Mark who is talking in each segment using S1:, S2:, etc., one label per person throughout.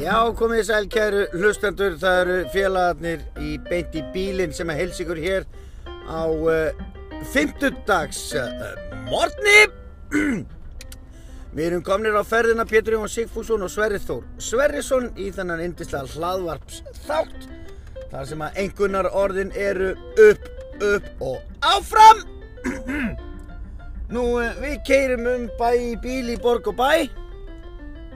S1: Já, komið sæl kæru hlustendur, það eru félagarnir í beint í bílinn sem að helsa ykkur hér á uh, fimmtudags uh, morgni. Við erum komnir á ferðina Pétur Jón Sigfússon og Sverri Þór Sverrisson í þennan yndislega hlaðvarps þátt þar sem að einhvernar orðin eru upp, upp og áfram Nú, eh, við keyrum um bæ í bíl í borg og bæ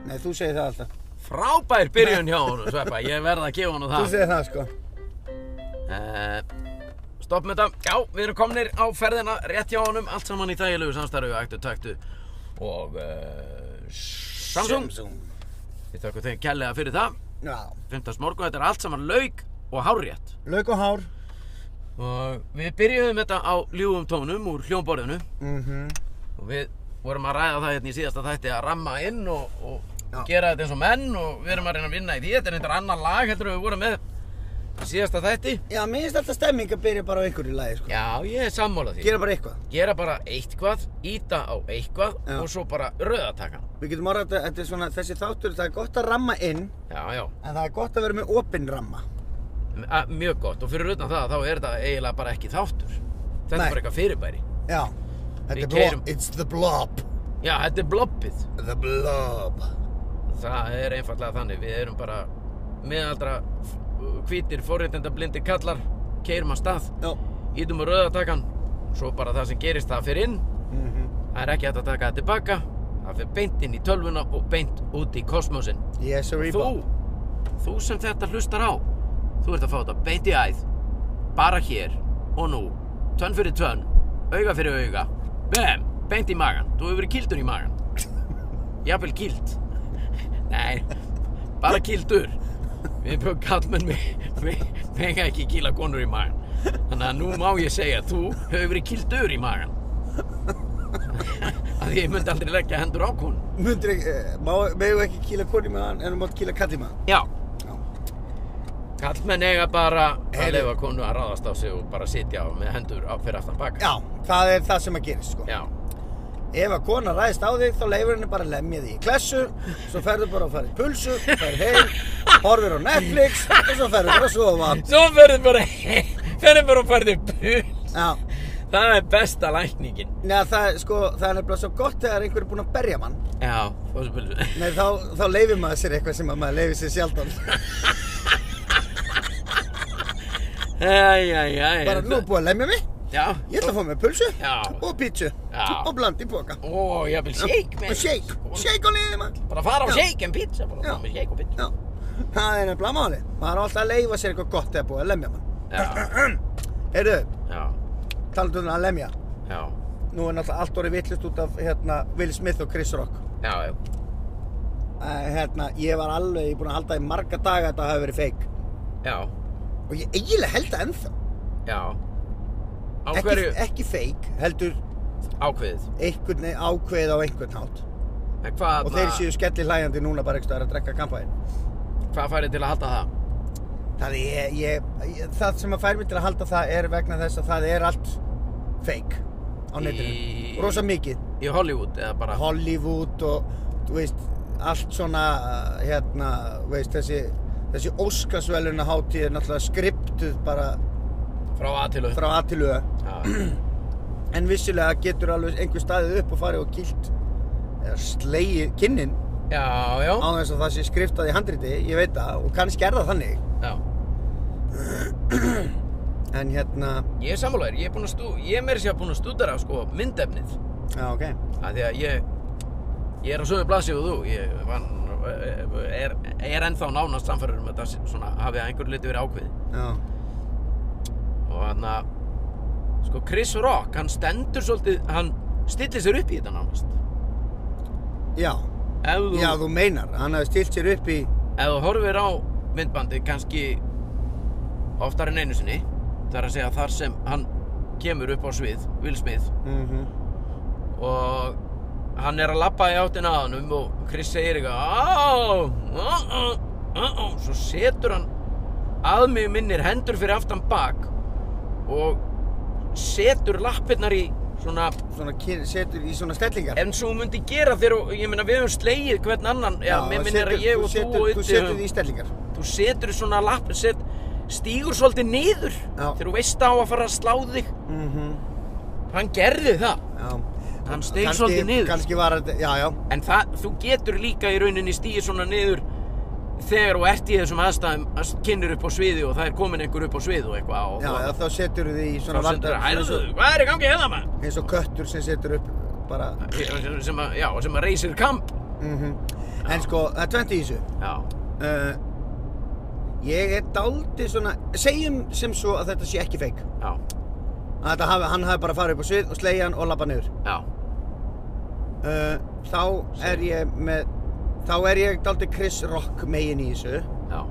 S1: Nei, þú segir það alltaf
S2: Frábær byrjun hjá honum, Sveppa, ég verð að gefa honum
S1: Þú
S2: það.
S1: segir það, sko
S2: Uh, stopp með þetta. Já, við erum komnir á ferðina rétt hjá honum, allt saman í þægilegu samstarfi, ættu, taktu og uh, Samsung. Við þökkum þeim kærlega fyrir það.
S1: Já,
S2: Fymtast morgun, þetta er allt saman lauk og hárrétt.
S1: lauk og hár
S2: Og við byrjuðum þetta á ljúfum tónum úr hljómborðinu
S1: mm
S2: og við vorum að ræða það hérna í síðasta þætti að ramma inn og, og
S1: Já.
S2: gera þetta eins og menn og við erum að reyna að vinna í því. Þetta er eitthvað annar lag heldur en við vorum með í síðasta þætti.
S1: Já, mér finnst alltaf stemming að byrja bara á einhverju lagi, sko
S2: Já, ég er sammálað því.
S1: Gera bara eitthvað
S2: Gera bara eitthvað, íta á eitthvað
S1: Já.
S2: og svo bara rauðatakan.
S1: Við getum orðað þetta, þetta er svona, þessi þáttur, það er gott að ramma inn
S2: Já, já,
S1: En það er gott að vera með opinn ramma
S2: M- a- mjög gott. Og fyrir utan það, þá er þetta eiginlega bara ekki þáttur. Þetta
S1: Nei.
S2: er bara eitthvað fyrirbæri.
S1: Já Þetta
S2: Við
S1: er
S2: keyrum.
S1: blob It's the blob
S2: Já, þetta er blobbið.
S1: The blob
S2: Það er einfallega þannig. Við erum bara meðaldra f- hvítir, forréttenda blindir kallar, keirum að stað,
S1: Já
S2: ítum á rauðatakan, svo bara það sem gerist það fyrir inn.
S1: mm
S2: Það er ekki hægt að taka það tilbaka. Það fyrir beint inn í tölvuna og beint út í kosmosin.
S1: Yes, a
S2: Þú,
S1: rebound
S2: þú sem þetta hlustar á, þú ert að fá þetta beint í æð, bara hér og nú, tönn fyrir tönn, auga fyrir auga, bam, beint í magan, þú hefur verið kildur í magan, jafnvel kild, nei, bara kildur, við bjöðum kallmenn mega ekki kýla konur í magan, þannig að nú má ég segja að þú hefur verið kildur í magan, að ég myndi aldrei leggja hendur á konur.
S1: Þú Mundur ekki, eh, má- megum ekki kýla koni með hann en þú mátt kýla kalli með hann
S2: Já.
S1: Já.
S2: Kallmenn eiga bara að
S1: Heyrðu.
S2: leifa konu að ráðast á sig og bara sitja með hendur á fyrir aftan baka.
S1: Já, það er það sem að gerist, sko
S2: Já.
S1: Ef að kona ræðist á þig, þá leifur henni bara að lemja þig í klessu Svo ferðu bara að fara í pulsu, ferð heim, horfir á Netflix Og svo ferðu bara að sofa
S2: Svo ferðu bara, ferðu bara og ferðu bull.
S1: Já,
S2: Það er besta lækningin.
S1: neða það, er, sko, það er nefnilega svo gott þegar einhver er búinn að berja mann
S2: Já, fóðu bull.
S1: Nei, þá, þá leifir maður sér eitthvað sem að maður leifir sér sjaldan
S2: Æjæjæj.
S1: Bara nú er búið að lemja mig
S2: Já.
S1: Ég ætla að fá mér pulsu
S2: Já.
S1: og pítsu
S2: Já.
S1: og bland í boka.
S2: Ó, ég vil shake með.
S1: Og shake, shake á liðið maður.
S2: Bara fara á
S1: Já.
S2: shake en pizza, bara
S1: Já.
S2: fara með shake og pizza.
S1: Já, það er nefnilega máli. Maður er alltaf að leifa sér eitthvað gott þegar búið að lemja maður.
S2: Já,
S1: Heyrðu,
S2: já,
S1: talandu um að lemja.
S2: já,
S1: Nú er náttúrulega allt orðið vittlust út af hérna, Will Smith og Chris Rock.
S2: já, já.
S1: Uh, hérna, ég var alveg, ég er búinn að halda í marga daga að þetta hafi verið feik.
S2: já,
S1: Og ég eiginlega held það ennþá.
S2: já. Á
S1: Ekki,
S2: hverju
S1: ekki feik, heldur
S2: ákveðið?
S1: einhvern veginn ákveð á einhvern hátt.
S2: En Hvað,
S1: Og þeir séu skellir hlæjandi núna bara einhvers staðar að drekka kampaðinn.
S2: hvað farið til að halda það?
S1: Það, er, ég, ég, það sem að fær mér til að halda það er vegna þess að það er allt fake á netinu.
S2: Í-
S1: Rosa mikið.
S2: Í Hollywood eða bara
S1: Hollywood og þú veist, allt svona, uh, hérna, þú veist, þessi, þessi óskarsveluna hátíð er náttúrulega skriptuð bara
S2: frá A til U
S1: frá aðtilöða.
S2: Já,
S1: En vissulega getur alveg einhver staðið upp og farið og kýlt eða slegið kinnin
S2: já, já,
S1: á þess að það sé skriftað í handriti, ég veit það, og kannski er það þannig.
S2: já.
S1: En hérna,
S2: Ég er sammálaður, ég er búinn að stú, ég er meira sér búinn að stúdera sko myndefnið
S1: já, ok.
S2: að því að ég ég er á sömu blasi og þú ég van, er, er ennþá nánast samfærður um að þetta svona hafi að einhver liti verið ákveði
S1: Já,
S2: og hann að sko Chris Rock, hann stendur svolítið hann stillir sér upp í þetta nánast
S1: já.
S2: ef þú,
S1: Já, þú meinar, hann hefði stilt sér upp í
S2: ef þú horfir á myndbandið kannski oftar en einu sinni þar að segja þar sem hann kemur upp á svið, Will Smith
S1: mm
S2: og hann er að labba í áttina að honum og Chris segir eitthvað "Á, á, á, á, á." svo setur hann að mig minnir hendur fyrir aftan bak og setur lappirnar í Svona,
S1: svona kyn, setur í svona stellingar
S2: en svo myndi gera þér og, ég meina, við höfum slegið hvern annan, já, mér minn er
S1: setur-
S2: að ég og þú
S1: setur,
S2: og
S1: Þú
S2: Ytti
S1: setur
S2: höfum-
S1: því í stellingar
S2: þú setur svona lapp, set, stígur svolítið niður
S1: Já.
S2: þegar þú veist á að fara að slá þig
S1: mm
S2: hann gerði það
S1: Já
S2: Hann steig
S1: Kannski-
S2: svolítið niður.
S1: kannski var þetta, já, já
S2: en það, þú getur líka í rauninni stígið svona niður þegar þú ert í þessum aðstæðum að kynir upp á sviði og það er komin einhver upp á svið og eitthvað og
S1: Já, já, þá setur því í svona
S2: þá sendur það,
S1: eins,
S2: hæðu,
S1: og,
S2: hvað er í gangi hérna maður?
S1: eins og köttur sem setur upp bara
S2: sem að, já, sem að reysir kamp
S1: mm En sko, það er tvent í þessu
S2: já,
S1: uh, Ég er dálítið svona Segjum sem svo að þetta sé ekki feik
S2: já,
S1: Að þetta hafi, hann hafi bara farið upp á svið og slegja hann og labba niður
S2: já
S1: uh, Þá er ég með Þá er ég dálítið Chris Rock megin í þessu
S2: já,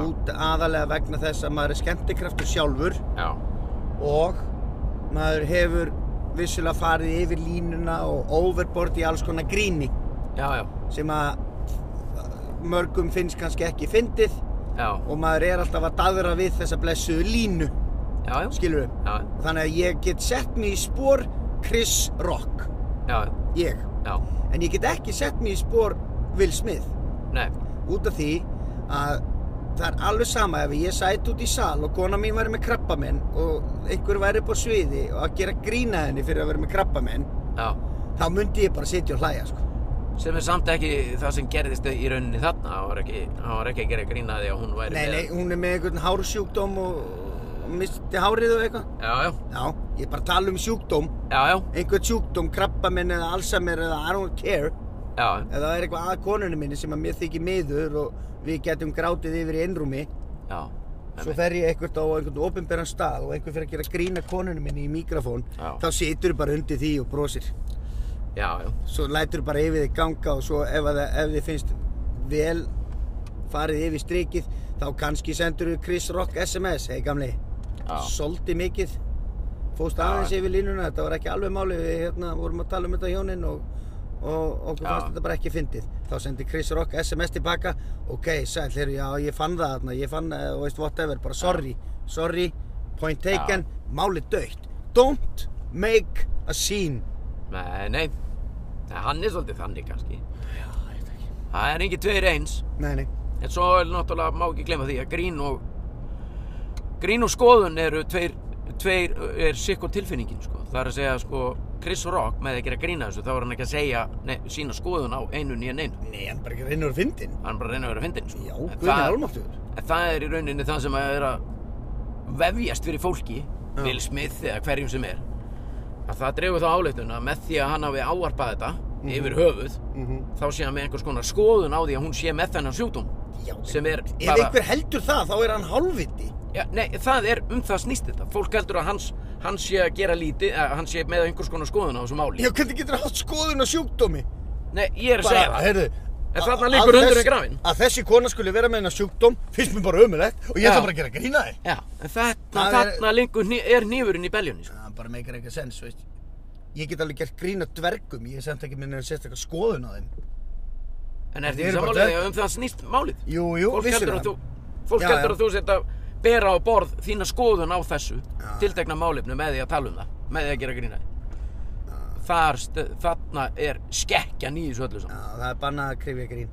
S1: Út aðalega vegna þess að maður er skemmtikraftur sjálfur
S2: já,
S1: og maður hefur vissulega farið yfir línuna og overboard í alls konar gríni
S2: já, já,
S1: sem að eh, mörgum finnst kannski ekki fyndið
S2: já,
S1: og maður er alltaf að daðra við þessa blessuðu línu,
S2: já, já,
S1: skilur við.
S2: já,
S1: Þannig að ég get sett mig í spór Chris Rock,
S2: já,
S1: ég,
S2: já,
S1: en ég get ekki sett mig í spór Will Smith
S2: nei,
S1: út af því að það er alveg sama ef ég sæti út í sal og kona mín væri með krabba minn og einhver væri upp á sviði og að gera grína henni fyrir að vera með krabba minn
S2: já
S1: þá myndi ég bara sitja og hlæja sko.
S2: sem er samt ekki það sem gerðist í rauninni þarna hann var ekki, hann var ekki að gera grína því að hún væri
S1: Nei,
S2: með
S1: nei, hún er með einhvern hársjúkdóm og og misti hárið og eitthvað
S2: já, já,
S1: Já, ég er bara að tala um sjúkdóm
S2: já, já,
S1: einhvern sjúkdóm, krabba minn eða Alzheimer eða I don't care
S2: já,
S1: eða það er eitthvað að konunni minni sem að mér þykir miður og við getum grátið yfir í einrúmi
S2: já,
S1: svo fer ég eitthvað á einhvern opinberan stað og einhver fyrir að gera grína konunni minni í mikrofón
S2: Já.
S1: þá situr bara undir því og brosir
S2: já, já,
S1: svo lætur bara yfir þig ganga og svo ef, að, ef þið finnst vel farið yfir strikið þá kannski sendur við Chris Rock SMS hei gamli,
S2: já,
S1: soldi mikið fóst
S2: Já.
S1: aðeins yfir línuna þetta var ekki alveg máli við hérna, vorum að tala um þetta hjónin og, og okkur
S2: Já.
S1: fannst þetta bara ekki fyndið þá sendi Chris Rock SMS tilbaka ok, sæl, heyrðu, já, ég fann það þarna ég fann, eh, þú veist, whatever, bara sorry sorry, point taken, máli dögt don't make a scene
S2: nei, nei Nei, hann er svolítið þannig kannski
S1: já, ég veit ekki
S2: það er ekki tveir eins
S1: nei, nei
S2: en svo er náttúrulega má ekki glemma því að grín og grín og skoðun eru tveir, tveir er sikk og tilfinningin sko. það er að segja sko Chris Rock með því að gera grína þessu þá er hann ekki að segja nei, sína skoðun á einu nýja neinu
S1: Nei, hann bara ekki reynur að fyndin.
S2: hann er bara að reyna að vera fyndin sko.
S1: Já,
S2: En
S1: guðminn
S2: það-
S1: almáttugur.
S2: En það er í rauninni það sem að er að vefjast fyrir fólki,
S1: Já.
S2: Will Smith eða hverjum sem er. Að það dregur þá áleitun að með því að hann hafi áarpað þetta
S1: Mhm.
S2: yfir höfuð,
S1: Mm -hmm.
S2: þá sé hann með einhvers konar skoðun á því að hún sé með þennan sjúkdóm.
S1: Já,
S2: Sem er
S1: ef
S2: bara-
S1: einhver heldur það, þá er hann hálfviti.
S2: Já, nei, það er um það snýst þetta. Fólk heldur að hans, hans sé að gera lítið, að hans sé með einhvers konar skoðun á þessu máli.
S1: Já, hvernig getur hann hatt skoðun á sjúkdómi?
S2: Nei, ég er að segja það.
S1: heyrðu.
S2: En
S1: að-
S2: þarna
S1: að
S2: liggur hundurinn
S1: þess-
S2: grafinn.
S1: Að þessi kona skulle vera með hennar sjúkdóm, finnst mér bara ömulegt og ég
S2: Já.
S1: ætla bara að gera grína þig.
S2: Já, en þarna,
S1: Það er-
S2: þarna lingur, hní- er nýfurinn í beljunni, sko.
S1: Það bara meikar eitthvað sens, veist. Ég get alveg gert grína dvergum, ég er semt ekki minna að setja eitthvað skoðun á þeim.
S2: En er
S1: Þeir
S2: því
S1: eru bara
S2: samanlega
S1: dvergar.
S2: að um það snýst málið?
S1: Jú, jú,
S2: fólk heldur að þú fólk
S1: Já, já.
S2: heldur að þú sért að bera á borð þína skoðun á þessu
S1: Já.
S2: tiltekna málefnu með því að tala um það með því að gera grína Þar, st- þarna er skekkjan í þessu
S1: Já,
S2: öllu saman
S1: það er bannað að krifja grín.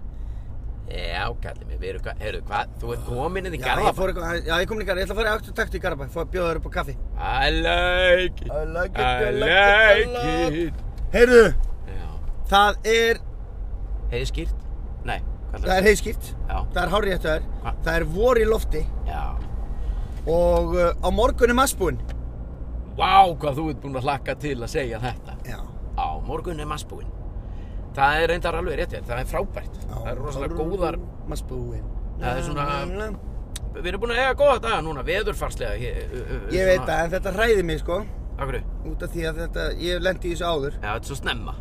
S2: já, kallið mér, við erum hvað, heyrðu hvað þú ert komin inn í
S1: Já, ég,
S2: garða
S1: fór, eitthvað- já, ég kom líka, ég ætla að fara í áttu taktu í Garabæ, fór að bjóða þér upp á kaffi.
S2: I like it
S1: I like it,
S2: I
S1: I like
S2: like
S1: it, I
S2: it
S1: Heyrðu,
S2: já,
S1: það er
S2: heiði skýrt? nei, hvað
S1: Það er heiðskýrt,
S2: Já.
S1: það er hárið eftir
S2: Ha.
S1: það er vor í lofti
S2: já,
S1: og uh, á morgun er massbúinn.
S2: vá hvað þú ert búin að hlakka til að segja þetta
S1: Já.
S2: á morgun er massbúinn það er reyndar alveg rétt hjá þér, það er frábært það er rosalega góðar
S1: Massbúinn.
S2: Það er svona- Við erum búin að eiga góða daga núna, veðurfarslega hér, ö- ö- ö-
S1: Ég veit
S2: svona-
S1: það, en þetta hræði mig sko,
S2: Af hverju?
S1: út af því að þetta, ég lendi í þessu áður.
S2: Já, þetta er svo snemma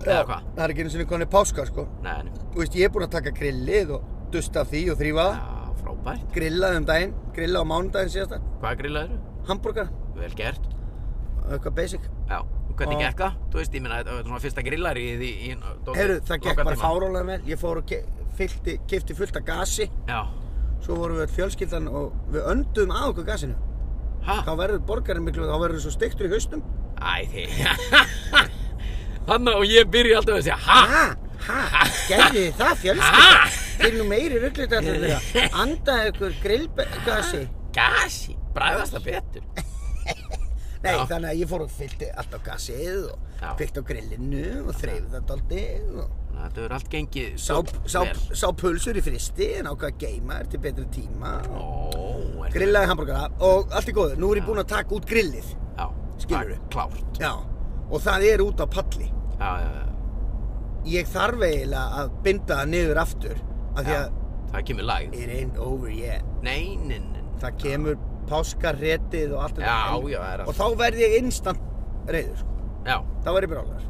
S2: Eða hvað?
S1: Það er ekki einu sinni konið páska sko.
S2: Nei, nei,
S1: Þú veist, ég er búinn að taka grillið og dusta af því og þrýfa það.
S2: já, frábært
S1: Grillað um daginn, grillað á mánudaginn síðasta.
S2: Hvað grillaður?
S1: Hamburger,
S2: Vel gert
S1: eitthvað basic.
S2: Já, og hvernig
S1: Og-
S2: gekk það? Þú veist, ég minna, þetta var svona fyrsta grillar í því í, dótið- hérna.
S1: Heyrðu, það gekk
S2: lokatíma.
S1: bara fárólega vel. Ég fór og ke- fyllti, kifti fullt af gasi.
S2: Já,
S1: Svo vorum við öll fjölskyldan og við önduðum að okkur gasinu.
S2: ha?
S1: þá verður borgarinn miklu, þá verður þú svo steiktur í haustum
S2: Æ, þið Hanna og ég byrja alltaf að segja Ha?
S1: Ha? Ha? Gerðu þið það fjölskylda? Þið er nú meiri rugglit allir þeirra. Andaðu ykkur grillgasi.
S2: Gasi, bræðast það betur
S1: Nei,
S2: Já.
S1: þannig að ég fór og fyllti alltaf gasið og
S2: Já.
S1: kveikti á grillinu og þreifði þetta aldrei og
S2: Þannig að Þetta verður allt gengið
S1: sá,
S2: vel.
S1: sá, sá pulsur í fristi en ákvað að geima þær til betri tíma og
S2: Ó, er
S1: grillaði hambúrgara og allt er góður. Nú er ég búinn að taka út grillið.
S2: Já,
S1: Skilurðu?
S2: það er Klárt
S1: Já, og það er út á palli.
S2: Já, já, já
S1: Ég þarf eiginlega að binda það niður aftur af því
S2: Já,
S1: að
S2: Það kemur læg
S1: it ain't over yet.
S2: Nei, nei, nei
S1: það kemur páskarretið og allt þetta
S2: Já,
S1: helg.
S2: já, það er allt.
S1: og þá verð ég instant reyður sko.
S2: Já,
S1: þá verð ég brálar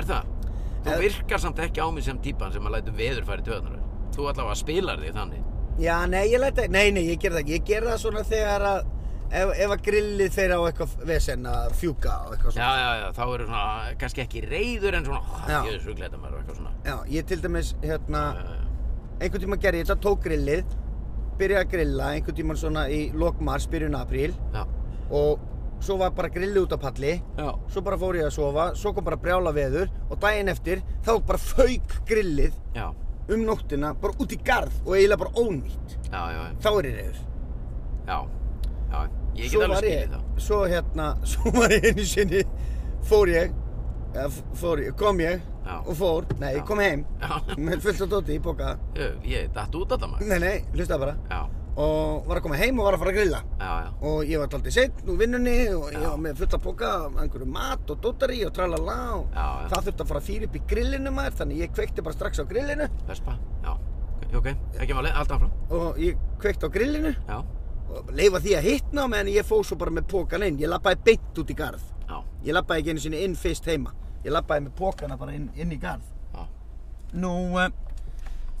S2: er það? Þú
S1: Eh.
S2: virkar samt ekki á mig sem típan sem að lætu veður færi töðnur Þú allavega spilar þig þannig
S1: já, nei, ég læt ekki, nei, nei, ég ger það ekki ég ger það svona þegar að ef, ef að grillið fer á eitthvað vesen að fjúka og eitthvað
S2: Já,
S1: svona
S2: já, já, þá eru svona, kannski ekki reyður en svona "Ah,
S1: Já.
S2: "Ó, Ég er svo gleda maður og eitthvað svona Eh,
S1: já, ég til dæmis, hérna
S2: Já, já, já.
S1: einhvern tíma gerði ég þetta, tók grillið byrjaði að grilla einhvern tíma svona í lokmars, byrjun apríl
S2: Já,
S1: og svo var bara grillið út á palli
S2: já,
S1: svo bara fór ég að sofa, svo kom bara brjála veður og daginn eftir, þá bara fauk grillið
S2: já,
S1: um nóttina bara út í garð og eiginlega bara ónýtt
S2: já, já,
S1: þá er ég reyður
S2: já, já, ég get alveg skilið það.
S1: svo hérna, svo var ég einu sinni fór ég, eða f- fór ég kom ég
S2: Já.
S1: og fór, nei,
S2: Já.
S1: kom heim
S2: Já,
S1: með fullt á dóti í boka
S2: Ég- ég datt út af það maður.
S1: nei, nei, hlusta bara
S2: Já,
S1: og var að koma heim og var að fara að grilla
S2: já, já,
S1: og ég var daldið seinn úr vinnunni og ég
S2: Já.
S1: var með fullt að boka af einhverju mat og dótari og tralala og
S2: Já, já.
S1: það þurfti að fara að fýra upp í grillinu maður þannig ég kveikti bara strax á grillinu
S2: vespa, já, ok, ok, ekki máli, allt áfram.
S1: og ég kveikti á grillinu
S2: Já,
S1: leifa því að hittna á meðan ég fóð svo bara með pókan inn ég lappaði beint út í garð
S2: já,
S1: ég lappaði ekki einu sinni inn fyrst heima ég lappaði með pókana bara inn, inn í garð
S2: já.
S1: nú uh,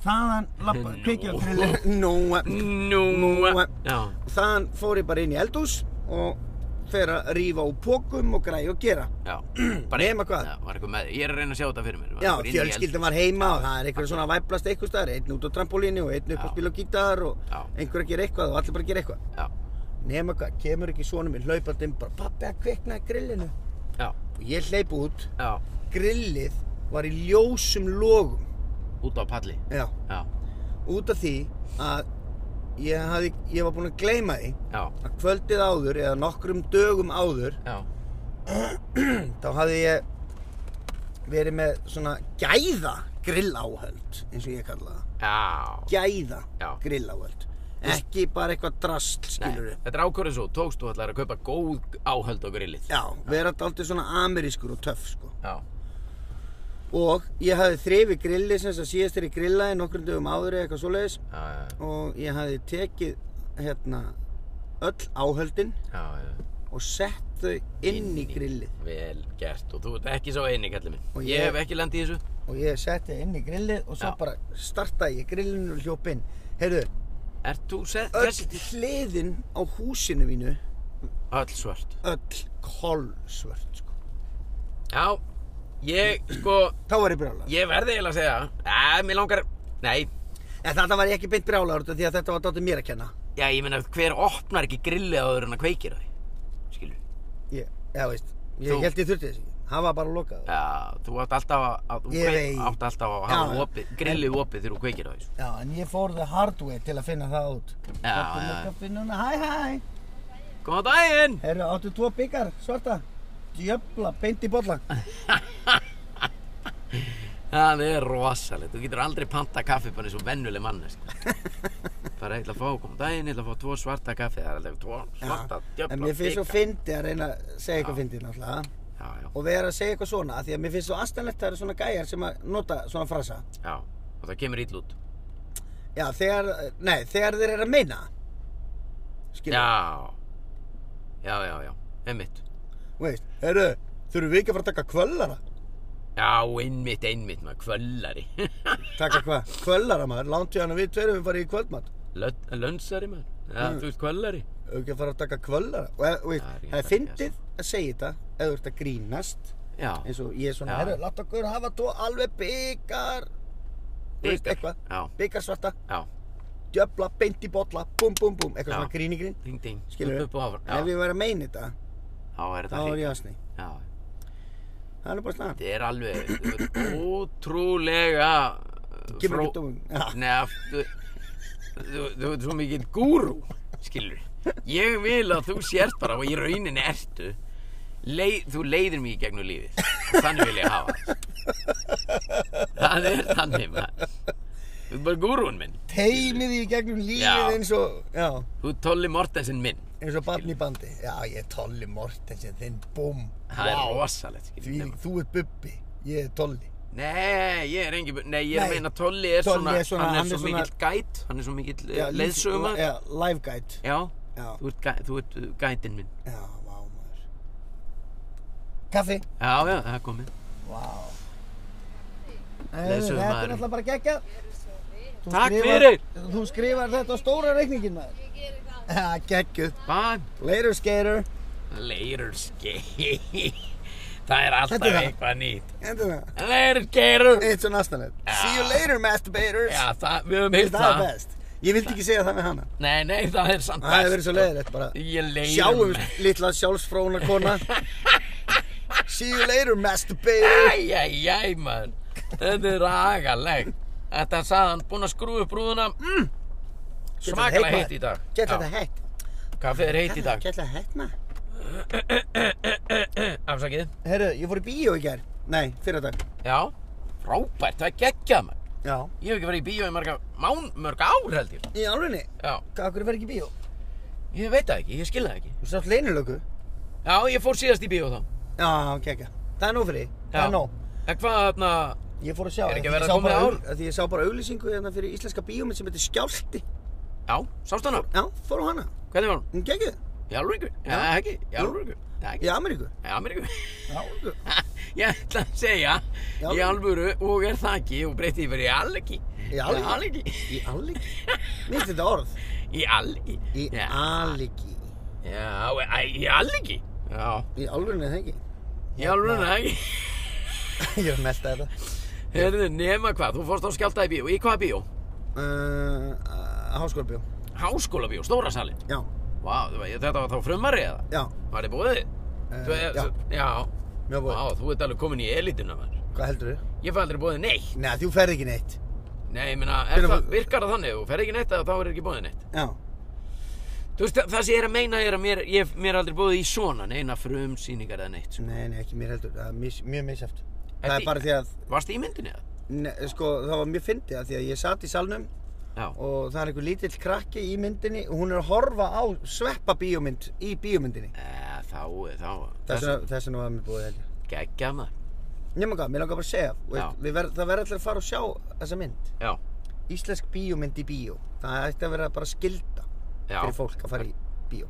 S1: þaðan lappaði
S2: Nú.
S1: kveikja grillinu nú uh,
S2: Nú,
S1: Nú, eh.
S2: já,
S1: þaðan fór ég bara inn í eldhús og fer að rífa úr pókum og græja og gera
S2: já.
S1: nema hvað?
S2: Já, var eitthvað með, ég er að reyna að sjá þetta fyrir mér. Var
S1: já,
S2: einhver inn í
S1: fjölskyldan var heima og það er einhver svona að væplast eitthvað staðar einn út á trampolínu og einn upp
S2: Já.
S1: að spila á gítar og
S2: Já.
S1: einhver að gera eitthvað og allir bara að gera eitthvað
S2: eld- Já,
S1: nema hvað, kemur ekki svona minn hlaupandi inn, bara pappi að kveiknaði grillinu
S2: já,
S1: og ég hleyp út
S2: já,
S1: grillið var í ljósum logum
S2: út á palli.
S1: já,
S2: Já,
S1: út af því að ég, hafði, ég var búinn að gleyma því
S2: já,
S1: að kvöldið áður eða nokkrum dögum áður
S2: já,
S1: þá hafði ég verið með svona gæða grilláhöld eins og ég kalla það
S2: já.
S1: gæða
S2: Já.
S1: grilláhöld ekki bara eitthvað drasl
S2: Nei,
S1: skilur
S2: þetta er ákvörðin svo, tókst þú ætlar að kaupa góð áhöld á grillið.
S1: já, vera daldið svona amerískur og töff sko
S2: Já,
S1: og ég hafði þrifi grillið sem þess að síðast er í grillaði nokkrum dögum áður eða eitthvað svoleiðis
S2: já, já,
S1: og ég hafði tekið hérna öll áhöldin
S2: já, já.
S1: og sett þau inn í grillið
S2: Vel gert og þú ert ekki svo eini kallið minn
S1: Og
S2: ég...
S1: ég-
S2: hef ekki landið í þessu
S1: og ég setti þau inn í grillið og svo
S2: Já.
S1: bara startaði ég grillinu og hljóp inn heyrðu,
S2: Ert þú sett
S1: öll
S2: þessi til?
S1: hliðin á húsinu mínu
S2: Öll svört
S1: öll kolsvört sko.
S2: Já, ég sko
S1: þá var ég brjálað
S2: Ég verði eiginlega að segja Æ, mér langar Nei,
S1: en þetta var ég ekki beint brjálað því að þetta var dátum mér að kenna
S2: já, ég meina hver opnar ekki grillið áður en að kveikir á því Skilur
S1: ég, já, veist, ég
S2: Þú-
S1: held ég þurfti þess ekki það var bara lokað
S2: Já, þú átt alltaf að, að Þú
S1: Ég veit.
S2: átt alltaf að
S1: Já,
S2: hafa
S1: já.
S2: opið, grillið opið þegar þú kveikir á því sko.
S1: já, en ég fór the hard way til að finna það út
S2: Já,
S1: Kaffi,
S2: já.
S1: kaffi núna, hæ hæ
S2: Góðan daginn
S1: Herru, áttu tvo byggar, svarta? Djöfla, beint í bolla.
S2: Það er rosalegt, þú getur aldrei panta kaffi bara eins og vennuleg mannesk Bara ég ætla að fá, kom daginn, ég ætla að fá tvo svarta kaffi Það er alveg tvo svarta, djöfla,
S1: En mér finnst svo
S2: bika.
S1: fyndi að reyna að segja eitthvað fyndið náttúrulega.
S2: Já, já,
S1: Og vera að segja eitthvað svona, af því að mér finnst svo astanlegt að það eru svona gæjar sem að nota svona frasa.
S2: já, og það kemur ill út
S1: Já, þegar, nei, þegar þeir eru að meina. Skilja.
S2: Já Já, já, já, einmitt
S1: Veist, herru, þurfum við ekki að fara að taka kvöllara?
S2: Já, einmitt, einmitt, maður kvöllari
S1: Taka hvað? Kvöllara maður, lánt ég hann að við tverum við farið í kvöldmat.
S2: Lön- Lönsari maður, já, þú veist kvöllari
S1: Ef ekki að fara að taka kvöllara. Og, eh, veist,
S2: Það er
S1: það er
S2: rétt að sko.
S1: fyndið að segja þetta, ef þú ert að grínast,
S2: Já,
S1: eins og ég er svona,
S2: Já.
S1: herru, látt okkur hafa tvo alveg byggar þú veist,
S2: Bikar.
S1: eitthvað.
S2: Já.
S1: byggar svarta,
S2: já,
S1: djöfla, beint í bolla búm, búm, búm, eitthvað
S2: Já.
S1: svona grín í grín
S2: ding, ding,
S1: skilur
S2: upp og áfram
S1: ef
S2: Já,
S1: ég væri að meina þetta
S2: þá er
S1: þá
S2: þetta
S1: er
S2: hring.
S1: ég að snið.
S2: Já,
S1: Það er nú bara snart.
S2: þetta er alveg ótrúlega uh,
S1: Kemur
S2: fró-
S1: ekki dómum. Já.
S2: Nei, af- þú, þú, þú ert svo mikill gúrú, skilur. Ég vil að þú sért bara og í rauninni ertu. Leið, þú leiðir mig í gegnum lífið. Þannig vil ég hafa það. Það er þannig, maður. Þú ert bara gúrún minn.
S1: Teimið í gegnum
S2: Já.
S1: lífið eins og, já,
S2: Þú ert Tolli Mortensen minn.
S1: eins og barn í bandi. Já, ég er Tolli Mortensen, þinn búm.
S2: Það er
S1: Vá.
S2: rosalegt,
S1: Því,
S2: skilur.
S1: þú ert Bubbi, ég er Tolli.
S2: Nei, ég er engin... Nei, ég er
S1: Nei.
S2: að meina að Tolli er
S1: Tolli
S2: svona...
S1: er svona-
S2: Hann
S1: hann er
S2: er svo
S1: svona-
S2: mikill gæt. Hann er svo mikill
S1: Já,
S2: eh,
S1: líf-
S2: leiðsögumaður.
S1: Já, live guide.
S2: Já,
S1: Já.
S2: þú ert, gæ- þú ert eh, gætinn minn.
S1: Já, vá maður. Kaffi.
S2: Já, já, það er komið.
S1: Vá.
S2: Nei,
S1: Þetta
S2: sögum
S1: er
S2: maðurinn.
S1: náttúrulega bara geggjað. Þú
S2: Takk
S1: skrifar-
S2: fyrir.
S1: Þú skrifar þetta á stóra reikningin maður. Ég gerir það. Já, geggjuð.
S2: Bæn.
S1: Later skater.
S2: Leirurskei Það er alltaf
S1: Þetta er það.
S2: eitthvað nýtt
S1: Endur það.
S2: Leirurskeiru
S1: It's an astanett.
S2: Já.
S1: See you later, masturbators.
S2: Já, það, við höfum hýrt
S1: það er
S2: það
S1: best. Ég vildi ekki segja það með hana.
S2: Nei, nei, það er samt
S1: Það hefur verið svo leiðilegt bara.
S2: Ég leirum
S1: Sjáum litla sjálfsfróna kona. See you later, masturbator.
S2: Æjæjæj, maður Þetta er agaleg Þetta sagði hann búinn að skrúa upp rúðuna mm,
S1: Getur þetta
S2: Smakalega
S1: heitt,
S2: heitt í dag
S1: Get
S2: Já,
S1: þetta hett.
S2: Kaffið er heitt í dag
S1: Get þetta hett maður.
S2: Afsakið
S1: Herru, ég fór í bíó í gær. Nei, fyrir dag.
S2: Já, frábært, það er geggjað maður
S1: Já.
S2: Ég hef ekki verið í bíó í marga, mán, mörg ár held ég
S1: Í alvegni?
S2: Já,
S1: Hvað, okkur verður ekki í bíó?
S2: ég veit það ekki, ég skil það ekki
S1: Þú sátt leynilöku?
S2: Já, ég fór síðast í bíó þá
S1: Já, ok, ok. Það er nóg fyrir því. Það er nóg.
S2: En hvað þarna,
S1: Ég fór að sjá.
S2: Er ekki
S1: af því
S2: verið
S1: ég sá
S2: komið
S1: bara
S2: ár?
S1: aug- af Því ég sá bara auglýsingu hérna fyrir íslenska bíómið sem heitir Skjálti.
S2: já, sást hana,
S1: Já, fór á hana.
S2: hvernig var hún?
S1: Hún geggið.
S2: Í alvöru ykkur? Já,
S1: Já.
S2: ekki, í alvöru ykkur? Já,
S1: Í
S2: ekki,
S1: Ameríku.
S2: í alvöru ykkur?
S1: Já, ok.
S2: Ég ætla að segja,
S1: Í
S2: í alvöru og er það ekki og breytti yfir í algi
S1: Í algi?
S2: algi
S1: Í Alligi. Mér finnst þetta orð.
S2: Í algi
S1: Í
S2: Já,
S1: Alligi.
S2: já, æ, í algi Já,
S1: Í alvegni það ekki.
S2: í alvöru
S1: Hérna.
S2: er það ekki
S1: ég er að melda þetta.
S2: Herðu, nema hvað, þú fórst á skjálta í bíó, í hvaða bíó?
S1: Uh, Háskólabjó.
S2: Háskóla bíó, stóra salin
S1: Já,
S2: Vá, þetta var þá frumari eða?
S1: já.
S2: Var þið búið?
S1: Eh,
S2: Þú-
S1: já.
S2: já
S1: Mjög búið.
S2: Vá, þú ert alveg komin í elituna maður
S1: Hvað heldur þau?
S2: Ég fæ aldrei bóðið neitt.
S1: Nei, þú ferð ekki neitt.
S2: Nei, ég meina, er
S1: Hvenær
S2: það,
S1: fór-
S2: virkar það þannig? Þú ferð ekki neitt eða þá er ekki bóðið neitt.
S1: Já.
S2: Þú veist, það sem ég er að meina er að mér, ég, mér er aldrei bóðið í svona neina frumsýningar eða neitt. Sko.
S1: Nei, nei, ekki mér heldur. Það er mis, mjög misjæft. Það
S2: Ekki-
S1: er bara því að
S2: Varst í myndinni eða?
S1: Ne, sko, það var mjög fyndið að því að ég satt í salnum
S2: Já.
S1: og það er einhver lítill krakki í myndinni og hún er að horfa á sveppa bíómynd í bíómyndinni.
S2: E, þá, þá,
S1: Þess vegna- þess vegna var mér búið heldur.
S2: geggja maður.
S1: Nefnum hvað, mér langar bara að segja, þú
S2: Já.
S1: veist, við ver, það verður allir að fara og sjá þessa mynd.
S2: Já,
S1: Íslensk bíómynd í bíó. Það ætti að vera bara skilda
S2: já.
S1: fyrir fólk að fara í bíó.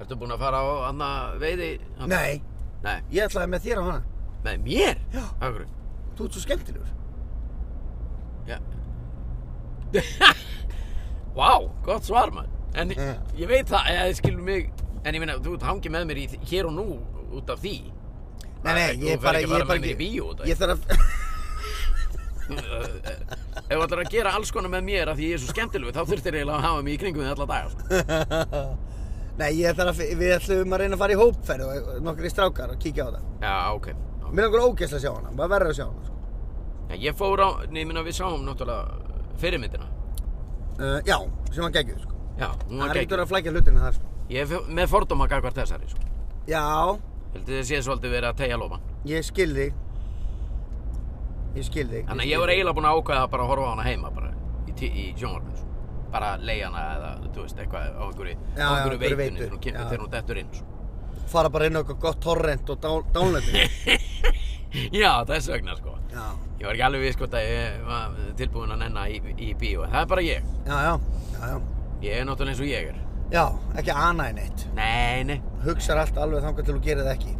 S2: Ertu búinn að fara á anna veiði? Anna?
S1: Nei,
S2: Nei,
S1: ég ætlaði með þér á hana.
S2: með mér?
S1: Já.
S2: Akkur.
S1: Þú ert svo skemmtilegur.
S2: Já. Vá, gott svar maður. En
S1: Já.
S2: ég veit það, eða þið skilur mig, en ég meina, þú hangið með mér í, hér og nú út af því.
S1: Nei, nei,
S2: Þú
S1: ég er
S2: ferð
S1: bara,
S2: ekki að
S1: ég
S2: fara
S1: er bara
S2: með mér í bíó út af því.
S1: Ég þarf að,
S2: Ef þú ætlar að gera alls konar með mér af því ég er svo skemmtilegu þá þurftir eiginlega að hafa mig í kringum því alla daga sko.
S1: nei, ég þarf að, við ætlum að reyna að fara í hópferð og nokkri strákar og kíkja á það.
S2: Já, ok ok.
S1: Mér langar ógeðslega að sjá hana, maður verður að sjá hana sko.
S2: Já, Ég fór á, neymina við sáum náttúrulega fyrirmyndina
S1: uh, Já, sem hann geggjuð sko
S2: Já,
S1: Það
S2: hún var
S1: er
S2: gegn
S1: ekkert að flækja hlutina þar sko
S2: Ég er f- með fordóma gagvart þessari sko.
S1: Já,
S2: Heldur þið sé svolítið verið að tegja lófan
S1: ég skil þig Ég skil þig
S2: Þannig að ég var eiginlega búinn að ákveða að bara horfa á hana heima bara í, tí- í sjónvarpinu sko. bara leiða hana eða þú veist eitthvað á einhverju,
S1: Já,
S2: á
S1: já,
S2: einhverju
S1: einhverju veitu.
S2: veitunni þegar hún kemur-
S1: Já.
S2: þegar hún dettur inn sko.
S1: eiginlega Fara bara inn á eitthvað gott torrent og dá- downloadið
S2: Já, þess vegna sko
S1: Já,
S2: Ég var ekki alveg viss hvort að ég var tilbúinn að nenna í, í bíó en það er bara ég
S1: já, já, já, já
S2: Ég er náttúrulega eins og ég er
S1: Já, ekki anaði neitt
S2: Nei, nei
S1: Hugsar allt alveg þangað til þú gerir það ekki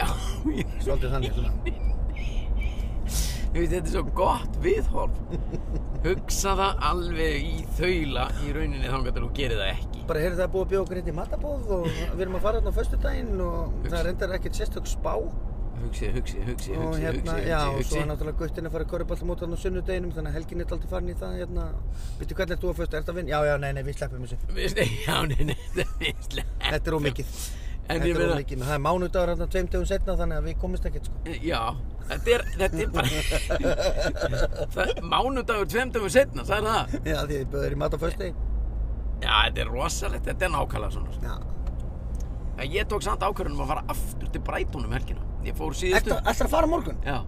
S2: Já, ég,
S1: Svolítið þannig svona
S2: ég veit, þetta er svo gott viðhorf Hugsa það alveg í þaula í rauninni þangar til þú gerir það ekki
S1: Bara heyrðu það er búið að bjóða okkur hérna í matabóð og við erum að fara hérna á föstudaginn og það er reyndar ekkert sérstök spá
S2: Hugsi, hugsi, hugsi, hugsi,
S1: og hérna,
S2: hugsi,
S1: já, og
S2: hugsi,
S1: svo er
S2: hugsi.
S1: náttúrulega guttin að fara í korribaltamót hann á sunnudeginum, þannig að helgin er aldrei farin í það, hérna, veitu hvernig ert þú að fyrst, ert að vinna? Já, já, nei, nei, við sleppum þessu,
S2: Vist, já, nei, nei, þetta er
S1: þetta er ómikið.
S2: En
S1: Þetta
S2: ég
S1: er
S2: meina-
S1: of mikið, menn það er mánudagur hérna tveim tegum setna þannig að við komumst ekkert sko.
S2: Já, þetta er, þetta er bara það er mánudagur tveim dögum setna, það er það
S1: Já, því þið böður í mat á föstu.
S2: Já, þetta er rosalegt, þetta er nákvæmlega svona sko.
S1: Já.
S2: En Ég tók samt ákvörðunum að fara aftur til Brighton um helgina Ég fór síðustu
S1: Ertu alltaf að fara á morgun?
S2: Já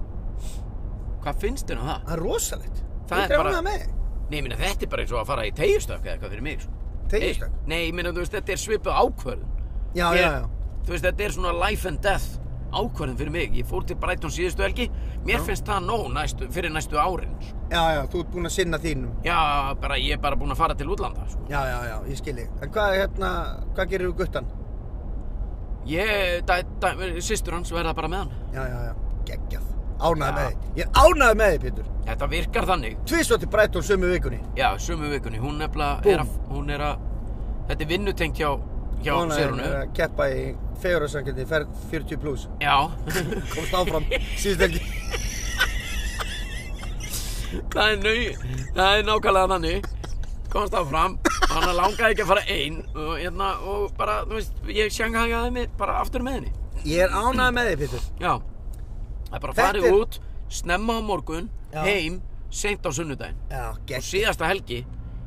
S2: Hvað finnst þér um það?
S1: Það er rosalegt.
S2: Það
S1: Ég
S2: er bara-
S1: ánægður með þig.
S2: Nei, ég meina, þetta er bara eins og að fara í tegjustökk eða eitthvað fyrir mig sko.
S1: Teygjustökk?
S2: Nei, nei, ég meina, þú veist, þetta er svipuð ákvörðun
S1: Já,
S2: Ég-
S1: já, já.
S2: Þú veist, þetta er svona life and death ákvörðun fyrir mig Ég fór til Brighton síðustu helgi Mér finnst það nóg næstu, fyrir næstu árin sko.
S1: Já, já, þú ert búinn að sinna þínum.
S2: Já, bara, ég er bara búin að fara til útlanda sko.
S1: Já, já, já, ég skil ég. En hvað, hérna, hvað gerir þú guttan?
S2: Ég, dæ, dæ, sýstur hans verða bara með hann.
S1: Já, já, já, geggjað. Ánægð
S2: Já.
S1: með þig. Ég er ánægð með þig, Pétur.
S2: Þetta virkar þannig.
S1: Tvísvað til Breitón sömu vikunni.
S2: Já, sömu vikunni, hún nefnilega
S1: Búmm.
S2: er að, hún er að, þetta er vinnutengt hjá, hjá
S1: Núna er-
S2: Sérunu.
S1: er að keppa í fegurarsangjandi ferð 40 pluss.
S2: Já,
S1: Komst áfram síðust ekki.
S2: það er nau, það er nákvæmlega þannig. Komst það fram, hann langaði ekki að fara einn og hérna, og bara, þú veist, ég sjanghagaði mig bara aftur með henni.
S1: Ég er ánægð með þig, Pétur.
S2: Já, það er bara
S1: Þetta
S2: farið
S1: er-
S2: út, snemma á morgun,
S1: Já.
S2: heim, seint á sunnudaginn.
S1: Já,
S2: Og
S1: geggjað.
S2: síðasta helgi,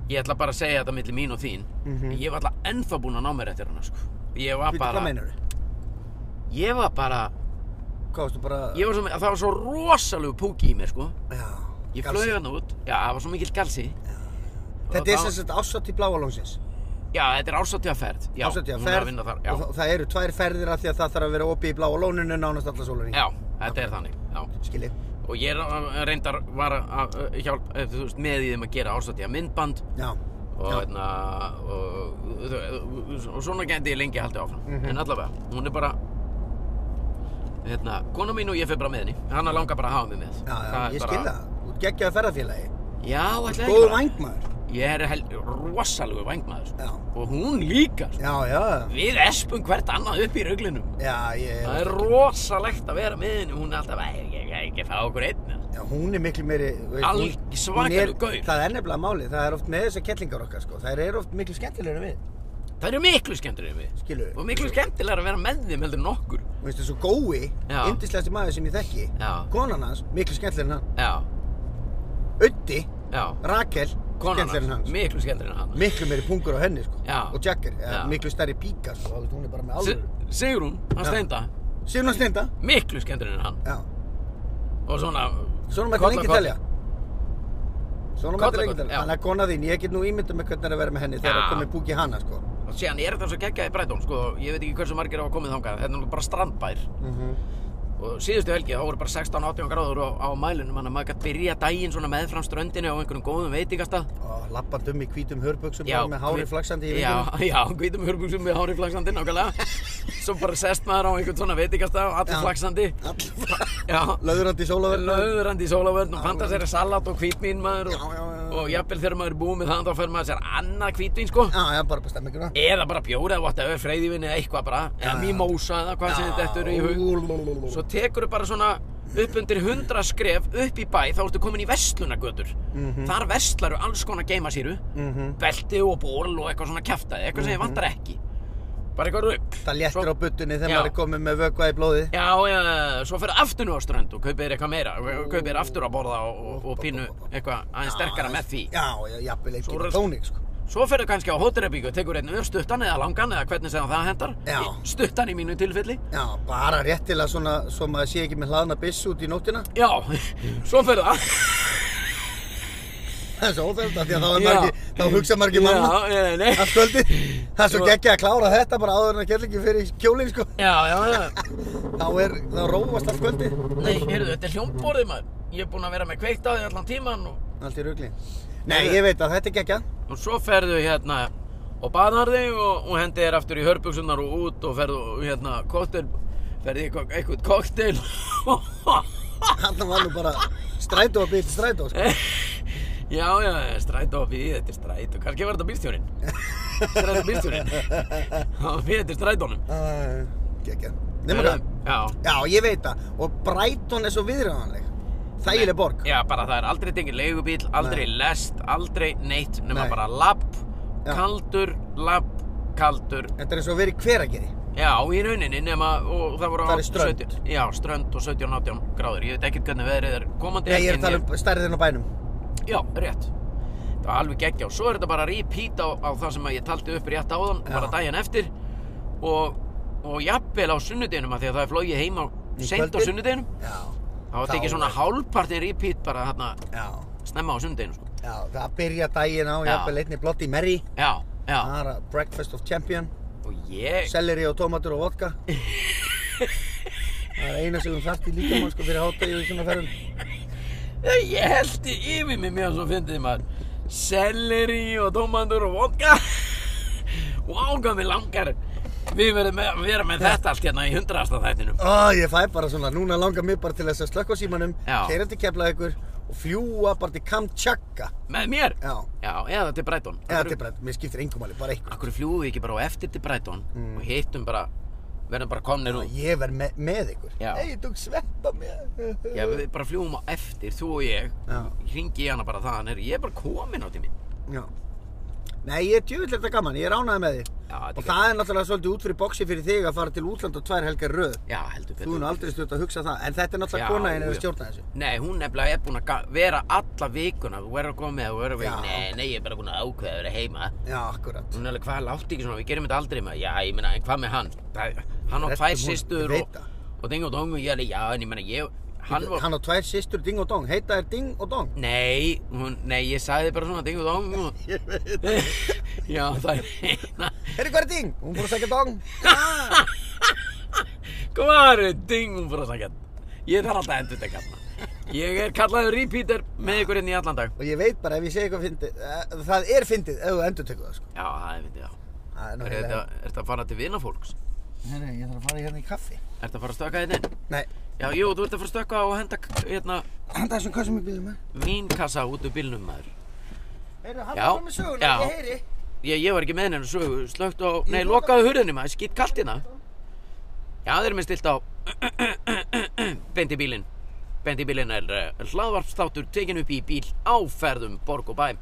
S2: ég ætla bara að segja þetta milli mín og þín,
S1: Mhm.
S2: ég var alltaf ennþá búinn að ná mér eftir hana, sko. Ég var
S1: Býttu, Hvað
S2: bara,
S1: meinar
S2: ég var bara,
S1: Hvað varstu bara...
S2: ég var svo, það var svo rosalegu púki í mér, sko.
S1: Já,
S2: Ég
S1: galsi.
S2: flög hann út, já, það var svo mikill galsi. Og
S1: Þetta er
S2: það-
S1: sem sagt ásatt í bláalónsins.
S2: Já, þetta er ársatíðaferð, já,
S1: Ásatíða
S2: hún er að
S1: ferð
S2: vinna þar, já,
S1: og það, það eru tvær ferðir af því að það þarf að vera opið í bláalóninu nánast alla sólarinn.
S2: já, þetta er þannig, já.
S1: Skilji.
S2: Og ég er- eh, reyndar var að- að hjálpa, eh, þú veist, með í þeim að gera ársatíða myndband
S1: Já.
S2: og
S1: Já.
S2: hérna og, eh, og, og svona gæti ég lengi haldið áfram
S1: Mhm.
S2: en allavega, hún er bara hérna, kona mín og ég fyrir bara með henni hana langar bara að hafa mig með
S1: Já, já,
S2: Það er
S1: ég
S2: bara-
S1: skil það. Þú ert geggjaði ferðarfélagi.
S2: já, ætlaði
S1: Góð vængmaður.
S2: ég er hel, rosalegu vængmaður sko.
S1: Já.
S2: og hún líka sko.
S1: Já, já.
S2: við espum hvert annað upp í ruglinum
S1: Já, ég...
S2: það er rosalegt að vera með henni hún er alltaf, "Æ, ég ég- ég- ég fá okkur einn
S1: Já, hún er miklu meiri... þú veist, hún-
S2: Alg- svakalegur
S1: hún er-
S2: gaur.
S1: Það er nefnilega máli. Það er oft með þessar kettlingar okkar, sko. Það eru oft miklu skemmtilegur en við.
S2: það eru miklu skemmtilega við
S1: Skilju.
S2: og miklu skemmtilega að vera með þeim heldur nokkur
S1: Þú veist, þessu gói,
S2: Já.
S1: yndislegasti maður sem ég þekki,
S2: Já.
S1: konan hans, miklu skemmtilegur en hann.
S2: já,
S1: Öddi,
S2: já
S1: Rakel,
S2: konan
S1: skemmtilegur en hann. sko.
S2: hans, miklu skemmtilegur en hann
S1: miklu meiri pungur á henni sko
S2: Já.
S1: og Jacker,
S2: Já.
S1: eða miklu stærri píka sko, þú veist, hún er bara með alveg
S2: Si- Sigrún, hann
S1: Já.
S2: steinda,
S1: Sigurinn að steinda
S2: miklu skemmtilegur en hann
S1: Já.
S2: og svona
S1: svona mætti
S2: koll af
S1: lengi
S2: kolli.
S1: telja svona mætti
S2: Koll af
S1: lengi
S2: kolli, já.
S1: telja þannig að kona þín, ég get nú ímyndað með hvernig er að vera með henni þegar
S2: Já.
S1: það komið búk í hana sko
S2: og síðan er þetta svo geggjað í Breitón sko, ég veit ekki hversu margir hafa komið þangað þetta er náttúrulega bara strandbær Mhm. og síðustu helgi þá voru bara 16-18 gráður á, á mælinum þannig að maður gætt byrja daginn svona meðfram ströndinu á einhverjum góðum veitingastað
S1: og lappand um í hvítum hörbuxum bara með
S2: hví-
S1: hári flaksandi í
S2: já,
S1: vingunum
S2: já, hvítum hörbuxum með hári flaksandi nákvæmlega svo bara sest maður á einhvern svona veitingastað og allir
S1: Já.
S2: flaksandi já,
S1: löðurandi sólaverð
S2: löðurandi í sólavörn og panta sér salat og hvítvín maður og,
S1: Já, já, já, já.
S2: og jafnvel þegar maður er búið með það þá fer maður sér annað hvítvín sko
S1: já, já, bara bara stemminguna
S2: eða bara bjóra eða whatever, freyðivinn eða eitthvað bara eða mimosa eða hvað sem þetta er í hug svo tekur bara svona upp undir 100 skref upp í bæ þá ertu komin í vestlunagötur
S1: Mhm.
S2: þar vestlaru alls konar geimasýru belti og ból og eitthvað svona kjaftaði eitthvað
S1: Mhm.
S2: sem ég vantar ekki bara eitthvað rugg
S1: það léttir á buttunni þegar
S2: Já.
S1: maður er komið með vökva í blóði
S2: Já, já, já, svo fyrir aftur nú á strönd og kaupir eitthvað meira, og kaupir aftur að borða og, og, og pínu eitthvað aðeins sterkara með því.
S1: já, já, jafnvel
S2: Svo
S1: eitthvað
S2: röst-
S1: tónik sko
S2: Svo fyrir kannski á hótelherbyggu, tekur einn öð stuttan eða langan eða hvernig sem það hendar.
S1: Já.
S2: Stuttan í mínu tilfelli.
S1: já, bara réttilega svona svo maður sé ekki með hlaðna byss út í nóttina
S2: Já, svo fyrir það.
S1: Það er svo óþægt af því að þá, er
S2: Já.
S1: margi, þá hugsa margir manna
S2: Já, já, nei.
S1: allt kvöldi. Það er svo
S2: Já.
S1: geggja að klára þetta bara áður en að kellingin fyrir kjólinn sko.
S2: Já, já, já.
S1: Þá er, þá róast allt kvöldi.
S2: Nei, heyrðu, þetta er hljómborðið maður. Ég er búinn að vera með kveikt á því allan tíman og,
S1: Allt í rugli. Nei, ég veit að þetta er geggja.
S2: og svo ferðu hérna og baðar þig og, og hendi þér aftur í hörbuksunar og út og ferðu hérna koktel, ferði eitthvað, eitthvað koktel.
S1: Hann var nú bara strætó að byrja til strætó sko.
S2: Já, já, strætó, við þetta er strætó Kannski var þetta bílstjórin Strætó bílstjórin Við þetta er strætónum Eh,
S1: Uh, geggja. Nefnum það.
S2: Já
S1: Já, ég veit það. Og Brighton er svo viðræðanleg. Þægileg borg.
S2: Já, bara það er aldrei tengið leigubíl, aldrei lest, aldrei neitt Nefna
S1: Nei.
S2: bara lapp,
S1: Já.
S2: kaldur, lapp, kaldur
S1: Þetta er eins og verið hver að geri.
S2: Já, í rauninni nema og það voru
S1: Það er strönd.
S2: 17 Já, strönd og 17-18 gráður Ég veit ekkert hvernig veðrið er komandi
S1: Nei, ég er
S2: en
S1: að tala um stærðin á bænum.
S2: Já, rétt Það var alveg geggjá Svo er þetta bara repeat á, á það sem að ég taldi upp rétt áðan
S1: Já.
S2: bara daginn eftir og, og jafnvel á sunnudeginum af því að það er flogið heim á
S1: Í
S2: seint á
S1: kvöldið?
S2: sunnudeginum
S1: Já.
S2: Það var
S1: Þá
S2: tekið svona
S1: er-
S2: hálfpartin repeat bara þarna
S1: Já.
S2: snemma á sundeginu sko.
S1: Já, það byrja daginn á,
S2: Já.
S1: jafnvel einni Bloody Mary.
S2: Já, já
S1: Það er að breakfast of champion.
S2: Og ég,
S1: Selleri og tómatur og vodka. það er eina sem hún þarft í líkamann sko fyrir hátægi og svona ferðum.
S2: ég heldi yfir mig meðan svo fyndið maður Selleri og tómandur og vodka Og ágaf mig langar Við verðum með, að vera með þetta allt hérna í hundraðasta þættinum
S1: Ó, ég fæ bara svona, núna langar mig bara til þess að slökka á símanum,
S2: Já.
S1: keira til Keflavíkur og fljúa bara til Kamchatka.
S2: Með mér
S1: Já,
S2: Já, eða til Brighton
S1: eða til Brent, mér skiptir engum alveg, bara eitthvað.
S2: Akkur fljúum við ekki bara á eftir til Brighton
S1: Mm.
S2: Og hittum bara, verðum bara komnir út
S1: Ég verð með, með ykkur.
S2: Já.
S1: Nei, ég tók svepp á mér.
S2: Já, við bara fljúum á eftir, þú og ég
S1: Já.
S2: Hringi ég hana bara þaðan, er ég er bara komin á tíminn
S1: Já. Nei, ég er djúvillega gaman, ég er ánægð með þig.
S2: Já,
S1: Og
S2: þetta er
S1: það er náttúrulega svolítið út fyrir boxi fyrir þig að fara til útland og tvær helgar í röð.
S2: Já, heldur
S1: Þú er nú aldrei stjórn að hugsa það, en þetta er náttúrulega
S2: Já,
S1: kona einu að
S2: já.
S1: stjórna þessu.
S2: Nei, hún nefnilega er búin að ga- vera alla vikuna, þú verður að koma með, þú verður að vera,
S1: Já.
S2: nei, nei, ég er bara búin að ákveða að vera heima.
S1: Já, akkurat.
S2: Hún er alveg, hvað, látti ekki svona, við gerum þetta aldrei maður, já, ég meina, en hvað með hann? Það, hann á
S1: Þetta
S2: tvær
S1: hún,
S2: sýstur
S1: ég veit
S2: og,
S1: það.
S2: og ding og dong og ég alveg, já, en ég meina, ég, hann var,
S1: Hann á tvær systur Ding og Dong, heita er Ding og Dong.
S2: nei, hún, nei, ég sagði bara svona ding og dong og,
S1: Ég veit það.
S2: já, það er hérna. eina,
S1: Heyrðu hvað er Ding? Hún fór að segja Dong.
S2: hvað er ding, hún fyrir að sagja, ég þarf alltaf að endur þetta kalla. Ég er kallaður repeater með ykkur inn í allan dag.
S1: Og ég veit bara ef ég segi eitthvað fyndið, eh, það er fyndið ef þú endur tekur það sko.
S2: Já, það er myndið á.
S1: Það er
S2: Er
S1: náttúrulega.
S2: þetta, er þetta að fara til vinafólks?
S1: Nei, nei, ég þarf að fara hérna í kaffi.
S2: Er þetta að fara að stöka þetta inn?
S1: Nei,
S2: Já, jú, þú ert að fara að stökkva og henda k- hérna
S1: handa þessum kassum í bílum, eh?
S2: vínkassa út úr bílnum maður.
S1: Heyrðu,
S2: Já,
S1: halda fram með söguna,
S2: já.
S1: ég heyri.
S2: Ég, ég var ekki með hennar sögu, slögt á, nei,
S1: Ég-
S2: lokaðu hurðinni maður, skýtt kallt hérna. Já, þeir eru með stilt á beint í bílinn. Beint í bílinn er eh, hlaðvarpstátur tekin upp í bíl áferðum borg og bæm.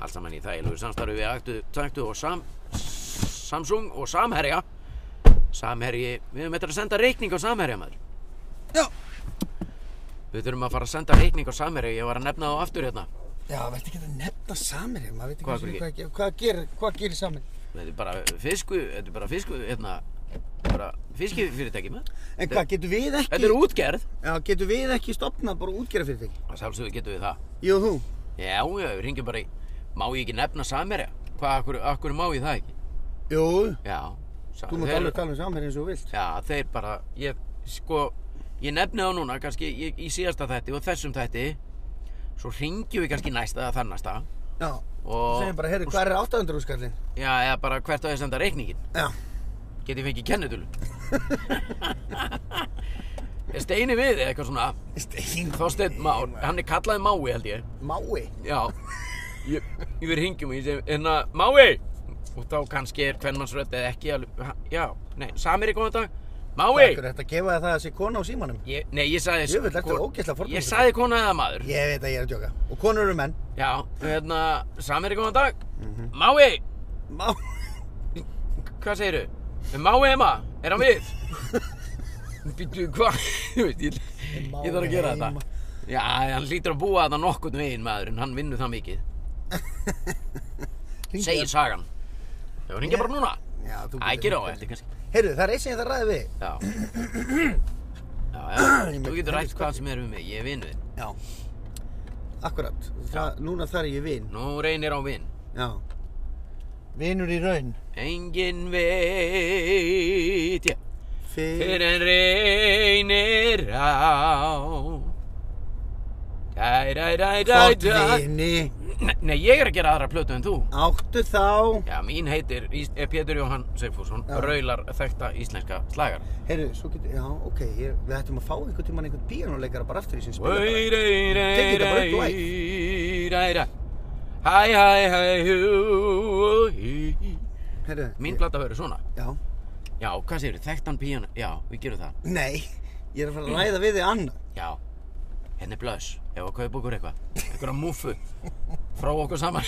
S2: Allt saman í þægilegu samstarfi við Aktu, Taktu og Sam, Samsung og Samherja. Samherji, við höfum eftir að senda reikning á Samherja maður.
S1: Já.
S2: Við þurfum að fara að senda reikning á Samherja, ég var að nefna þá aftur hérna.
S1: Já, verður ekki að nefna samir, hérna? maður veit ekki
S2: Hvað
S1: einu sinni
S2: gerir?
S1: hvað, hvað, hvað gerir, hvað gerir samir.
S2: Þetta er bara fisku, þetta er bara fisku, hérna, bara fiskifyrirtæki með.
S1: En hvað, getur við ekki,
S2: Þetta er útgerð.
S1: já, getur við ekki stopnað bara útgera fyrir þig?
S2: Það sjálfsögur getum við það.
S1: Jú, þú.
S2: Já, já, við ringjum bara í, má ég ekki nefna Samherja? Hvað, akkur, akkur má ég það ekki?
S1: Jú,
S2: Já. Sa,
S1: þú mátt alveg tala um samir eins og þú vilt.
S2: Já, þeir bara, ég, sko, ég nefni þá núna, kannski í, í síðasta þætti og þessum þætti, svo ringjum við kannski í næsta eða þar næsta
S1: Já.
S2: og...
S1: Segjum bara, heyrðu, hvað er 800 úrskallin?
S2: Já, eða bara hvert á ég að senda reikningin.
S1: Já.
S2: Get ég fengið kennitölu? ég steini við eða eitthvað svona.
S1: Stein.
S2: Þorsteinn Már, hann er kallaði Mái held ég
S1: Mái.
S2: Já Ég, ég verð hingjum og ég segi, hérna, Mái Og þá kannski er kvennmannsrödd eða ekki alveg, ha- Já, nei, Samir er góðan dag
S1: Takk
S2: Mái
S1: fyrir þetta að gefa þér það að sé kona á símanum.
S2: ég, Nei, ég sagði
S1: Jöfull, ertu
S2: kon-
S1: ógeðslega fordómsfull.
S2: Ég sagði kona eða maður
S1: Ég veit að ég er að djóka. Og konur eru menn.
S2: Já, hérna, Samir er góðan dag
S1: Mhm.
S2: Mái,
S1: Má...
S2: hvað segirðu? Mái Emma, er hann við? Býttu, hvað? Þú veist, ég, ég þarf að gera
S1: Mái Emma.
S2: þetta Já, hann lítur að búa þetta nokkurn veginn maður En hann vinnur það mikið segir sagan Já, hún ringja bara núna
S1: Já, hérna. þú
S2: Æ, gerðu á eftir kannski
S1: Heyrðu, það er eitt sem ég þarf að ræða við.
S2: Já Já, já,
S1: Ég
S2: þú
S1: meinti
S2: getur rætt
S1: helvítið
S2: hvað sem er um mig, ég er vinnu þinn
S1: Já. Akkurat. Það, núna þarf ég vin.
S2: Nú reynir á vinn
S1: Já. Vinur í raun.
S2: Engin veit ég Fyrir
S1: Fyrir...
S2: en reynir á Dæ, dæ, dæ, dæ,
S1: Gott
S2: dæ
S1: vini.
S2: Nei, Nei, ég er að gera aðra plötu en þú
S1: Áttu þá.
S2: Já, mín heitir Ís- eh, Pétur Jóhann Seifússon
S1: Já.
S2: Raular þekkta íslenska slagar
S1: Heyrðu, svo getur... Já, ok. Ég, við ættum að fá einhvern tímann einhvern píanóleikara bara aftur í sem spila bara. Tekið þetta bara upp
S2: Ræra Hæ, hæ, hæ, hú, hí
S1: Heyrðu.
S2: Mín
S1: ég-
S2: blata verður svona
S1: Já.
S2: Já, hvað segirðu, þekktan píjan Já, við gerum það
S1: Nei. Ég er að fara að ræða við þig annað.
S2: Já, henni blöðs Ef að kaupa okkur eitthvað Einhverja múfu Frá okkur saman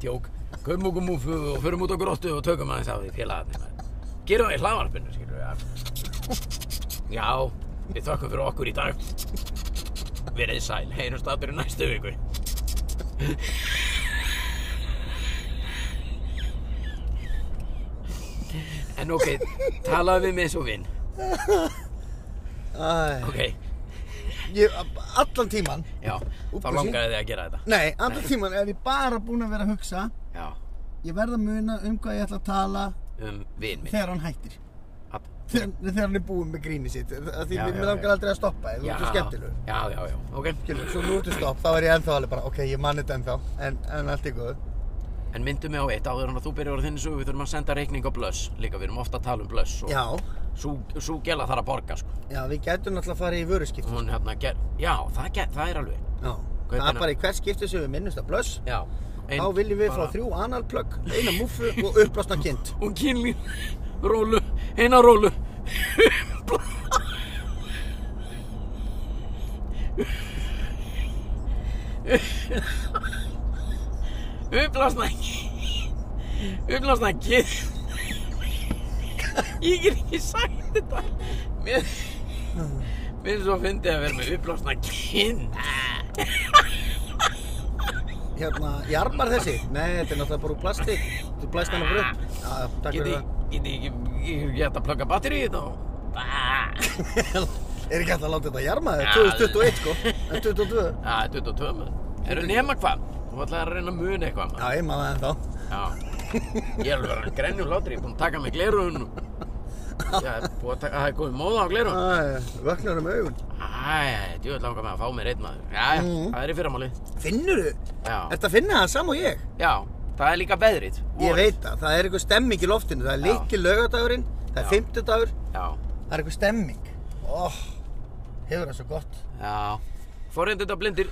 S2: Tjók, kaupum okkur múfu og förum út á grottu og tökum aðeins á því félagarnir maður. Gerum það í hlaðvarpinu, skilur við. Já, við þökkum fyrir okkur í dag. Verið sæl, heyrumst að byrju næstu viku. En ok, talaðu við mig eins og vinn.
S1: Æ,
S2: Ok,
S1: ég, allan tíman
S2: já, þá
S1: Úpsi.
S2: langaði þig að gera þetta.
S1: Nei, allan tíman ef ég bara búin að vera að hugsa
S2: Já,
S1: Ég verð að muna um hvað ég ætla að tala
S2: um vinn minn.
S1: þegar hann hættir
S2: Að-
S1: Þegar, þegar hann er búinn með gríni sitt Af Því
S2: Já,
S1: mér
S2: já,
S1: mér langar
S2: já.
S1: aldrei að stoppa Þú ert svo skemmtilegur
S2: Já, já, já, ok.
S1: Skilur, svo nú ertu stopp, þá er ég ennþá alveg bara Ok, ég man þetta ennþá En, en allt í góðu
S2: En myndu mig á eitt áður en að þú byrjar á þinni sögu, við þurfum að senda reikning á blöss. Líka við erum ofta að tala um blöss og
S1: Já,
S2: sú, sú gela þarf að borga, sko.
S1: já, við gætum náttúrulega að fara í vöruskipti
S2: Hún hérna ger... Já, það, ger, það er alveg.
S1: Já, það
S2: Kaupina.
S1: er bara í hvert skipti sem við minnumst að blöss
S2: Já.
S1: Þá viljum við fá þrjú analplögg, eina múfu og uppblásna kind
S2: Hún kynli rólu, eina rólu. Upplásnæki Upplásnæki Ég get ekki sagt þetta Mér Mér er svo fyndið að vera með upplásna kinn
S1: Hérna, jarmar þessi? Nei, þetta er náttúrulega bara úr plasti Þú blæst hann okkur upp Já, takk
S2: Get
S1: fyrir
S2: ég get ég ekki Ég get að plugga batteri í þetta og-
S1: það Er ekki hægt að láta þetta jarma
S2: Já.
S1: þegar 2021 sko En 2022
S2: Já, 22 maður Eru nema hvað? Þú ætlaði að reyna að muna eitthvað
S1: Já,
S2: maður
S1: ég maður það ennþá
S2: Já Ég er alveg að vera grænjum látri Ég er búinn að taka mig gleruðun Já, búið að taka Það er komið móða á gleruðun
S1: Æ, Vöknar um augun
S2: Æ, djúið langar mig að fá mér einn maður Já,
S1: Mhm.
S2: það er í fyrramáli
S1: Finnurðu?
S2: Já,
S1: Ertu að finna það sam og ég?
S2: já Það er líka veðrið
S1: Ég
S2: vorið.
S1: veit það, það er einhver stemming í loftinu Það er
S2: Já.
S1: líki laugardagurinn, það
S2: Já.
S1: er fimmtudagur
S2: Já,
S1: Það er einhver stemming Oh. Óh, hefur það svo gott
S2: já Fórhundið á blindir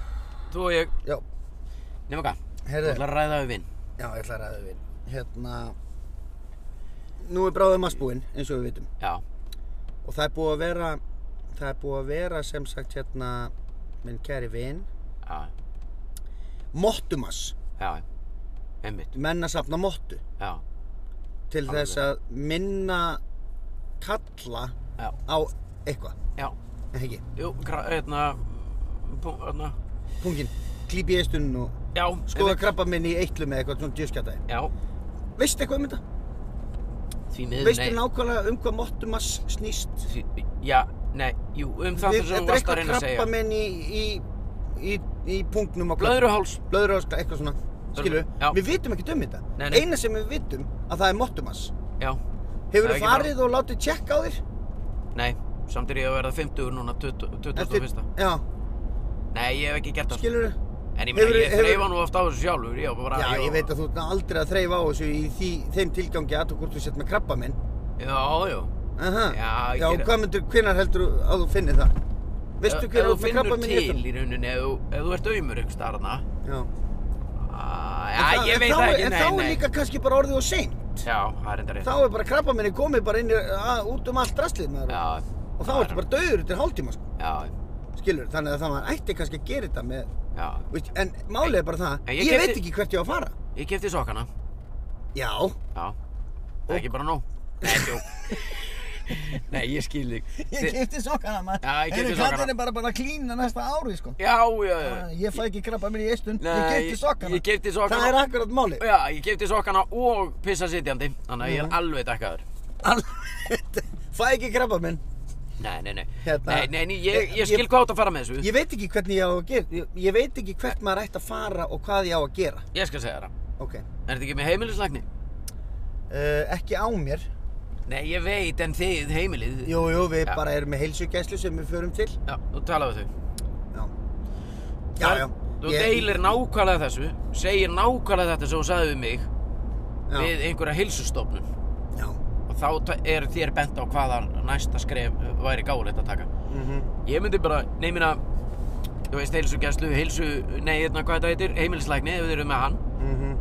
S2: Þú og ég
S1: Já,
S2: Nema hvað? Þú
S1: Heyrðu.
S2: ætlar að ræða við vinn
S1: já, ég ætla að ræða við Hérna Nú er bráðum massbúinn, eins og við vitum
S2: Já,
S1: og það er búið að vera það er búið að vera sem sagt hérna minn kæri vin
S2: já,
S1: Mottumas,
S2: já Einmitt,
S1: menn að safna mottu
S2: já,
S1: til
S2: Alveg.
S1: þess að minna kalla
S2: já,
S1: á eitthvað,
S2: já
S1: en ekki
S2: Jú, gra- hérna bú- Hérna
S1: pungin, klíp í eistun og
S2: Já,
S1: skoða
S2: einmitt.
S1: krabba minn í eitlu með eitthvað svona djöfskjata
S2: Já,
S1: veistu eitthvað um þetta?
S2: því miður
S1: veistu nákvæmlega um hvað Mottumas snýst?
S2: Því- Já, nei, jú, um það
S1: Við-
S2: sem þú varst að reyna að segja
S1: krabba minn í, í, í, í pungnum á krabba
S2: Blöðruháls
S1: blöður og eitthvað svona skilu,
S2: Já.
S1: við vitum ekkert um þetta
S2: Nei, nei.
S1: eina sem við vitum að það er mottumass
S2: Já,
S1: hefur
S2: Það er
S1: þú
S2: ekki
S1: farið og látið tjekka á þér
S2: nei, samt er ég að verða 50 núna 20 21.
S1: já,
S2: Nei, ég hef ekki gert það sko.
S1: skilur þú
S2: En ég meina,
S1: Hefurðu-
S2: ég
S1: hefurðu-
S2: þreifa nú oft á þessu sjálfur Ég, var bara,
S1: já, ég veit að þú ert aldrei að þreyfa á þessu í því, þeim tilgangi að þú hvort þú sett með krabba minn
S2: Já, já
S1: Aha.
S2: Já, ég
S1: já
S2: geri-
S1: hvað myndur, hvenar heldur þú að þú finnir það veistu
S2: Ef-
S1: hvenar
S2: ef
S1: þú með krabba minn
S2: Þú finnur til í rauninni ef, þú- ef þú ert auðmur ykkur starna
S1: já,
S2: Já, ég
S1: en
S2: veit
S1: þá,
S2: það
S1: er-
S2: ekki,
S1: en
S2: nei,
S1: þá er
S2: nei
S1: líka kannski bara orðið og sein
S2: Já, það er enda rétt
S1: þá er bara krabba minni komið bara inn í, að, út um allt rastlið maður
S2: Já,
S1: og þá ertu bara döður til hálftíma sko.
S2: Já,
S1: skilur þannig að það maður ætti kannski að gera þetta með
S2: já
S1: Veist, en málið er bara það,
S2: En
S1: ég,
S2: ég keypti-
S1: veit ekki hvert ég á að fara.
S2: Ég kefti sokkana
S1: Já,
S2: Já, það er ekki bara nóg Nei, jú Nei, ég skil þig
S1: ég kipti sokkana maður.
S2: Já, ég keypti
S1: Heyrðu,
S2: sokkana.
S1: kallinn er bara bara að klína næsta ári, sko.
S2: Já, já, já
S1: Ah, Ég fæ ekki krabba mér í eistun, ég
S2: Nei,
S1: kipti sokkana.
S2: Ég kefti sokkana
S1: Það er akkurat málið.
S2: Já, ég kefti sokkana og pissa sitjandi Þannig að
S1: Mm.
S2: ég er alveg dekkaður
S1: Alveg, fæ ekki krabba minn.
S2: Nei, nei, nei
S1: Hérna.
S2: Nei, nei, nei ég, ég
S1: Ég-
S2: skil hvað átt að fara með þessu
S1: Ég veit ekki hvernig ég á að gera, ég, ég veit ekki hvert maður ætti að fara og hvað ég á að gera.
S2: Ég skal segja þér það
S1: Ok,
S2: Er þetta ekki með heimilislækni?
S1: uh, ekki á mér.
S2: Nei, ég veit, en þið heimilið
S1: Jú, jú, við
S2: Já.
S1: bara erum með heilsugæslu sem við förum til.
S2: Já, þú talar við þau
S1: Já, já, já.
S2: Þú
S1: Ég-
S2: deilir nákvæmlega þessu Segir nákvæmlega þetta sem þú sagði við mig
S1: Já.
S2: Við einhverja heilsustofnun
S1: Já,
S2: Og þá t- er þér bent á hvaða næsta skref væri gáleitt að taka
S1: mhm,
S2: Ég myndi bara, nei minna Þú veist, heilsugæslu, heilsu, nei, hérna, hvað þetta heitir, heimilislækni, ef þið eru með hann
S1: mhm.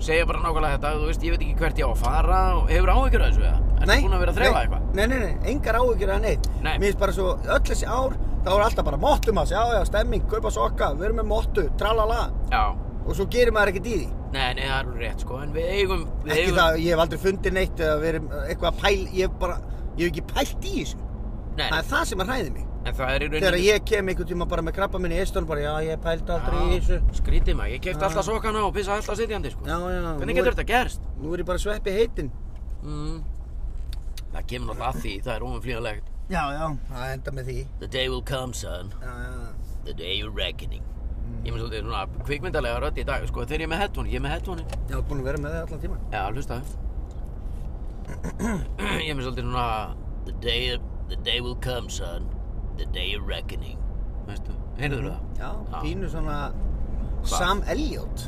S2: segja bara nákvæmlega þetta, þú veist, ég veit ekki hvert ég á að fara og hefur áhyggjur af þessu eða? Ertu búin að vera að þrefa
S1: nei,
S2: eitthvað?
S1: Nei, nei, nei, engar áhyggjur að neitt
S2: Nei.
S1: Mér finnst bara svo, öll þessi ár þá er alltaf bara mottum að, já, já, stemming, kaupa sokka við erum með mottu, tralala
S2: Já,
S1: og svo gerir maður ekkert í því
S2: Nei, nei, það er alveg rétt sko, en við eigum, við
S1: Ekki
S2: eigum,
S1: það, ég hef aldrei fundið neitt eða verið eitthvað að pæl, ég hef bara, ég hef ekki pælt í þessu.
S2: nei,
S1: Það er það sem að hræði mig.
S2: en það er í rauninni...
S1: Þegar ég kem einhvern tíma bara með krabba minni í eistunum bara, já, ég pælt aldrei í þessu.
S2: Já, Skrítið maður, ég kefti
S1: Já.
S2: alltaf sokkana og pissaði alltaf sitjandi sko.
S1: Já, já. nú
S2: Hvernig getur
S1: er-
S2: þetta gerst?
S1: Nú er ég bara sveppi heitinn.
S2: Mm. Það kemur náttúrulega að því, það er óumflýjanlegt.
S1: Já, já. Það enda með því.
S2: The day will come, son.
S1: Já, já.
S2: The day of reckoning. Ég með svolítið svona kvikmyndalega rödd í dag, sko, þegar ég er með headphone, ég er með headphone.
S1: Ég hef búin að vera með það allan tíma.
S2: Já, hlustaðu. ég er með svolítið svona... The day, of, the day will come, son. The day of reckoning. Mm-hmm. Veistu, heyrðu það?
S1: Já,
S2: Já.
S1: pínu svona Sam Elliot.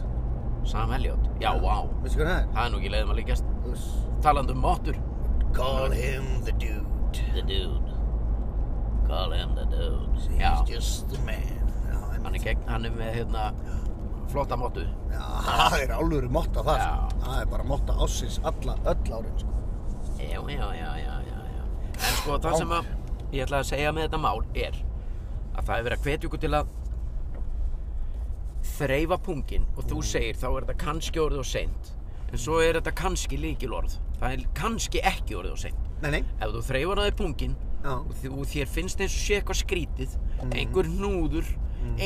S2: Sam Elliot. Já, vá.
S1: Veistu hvað það er?
S2: Það er nú ekki leiðum að líkast.
S1: Uss.
S2: Talandi um mottur.
S1: Call him the dude.
S2: The dude. Call him the dude.
S1: He's
S2: Já,
S1: just the man. Já, einmitt.
S2: hann er, gegn, hann er með hérna flotta mottu.
S1: Já, það er álur motta það.
S2: Já.
S1: sko. Það er bara motta ássins alla, öll árin, sko.
S2: Já, já, já, já, já, já. En sko það sem að ég ætla að segja með þetta mál er að það er verið að hvetja ykkur til að þreifa pungin og þú segir þá er þetta kannski orðið og seint. En svo er þetta kannski líkilorð. Það er kannski ekki orðið og seint.
S1: Nei, nei.
S2: Ef þú þreifar það í pungin
S1: Já.
S2: og þú, þér finnst eins og sé eitthvað skrítið einhver hnúður,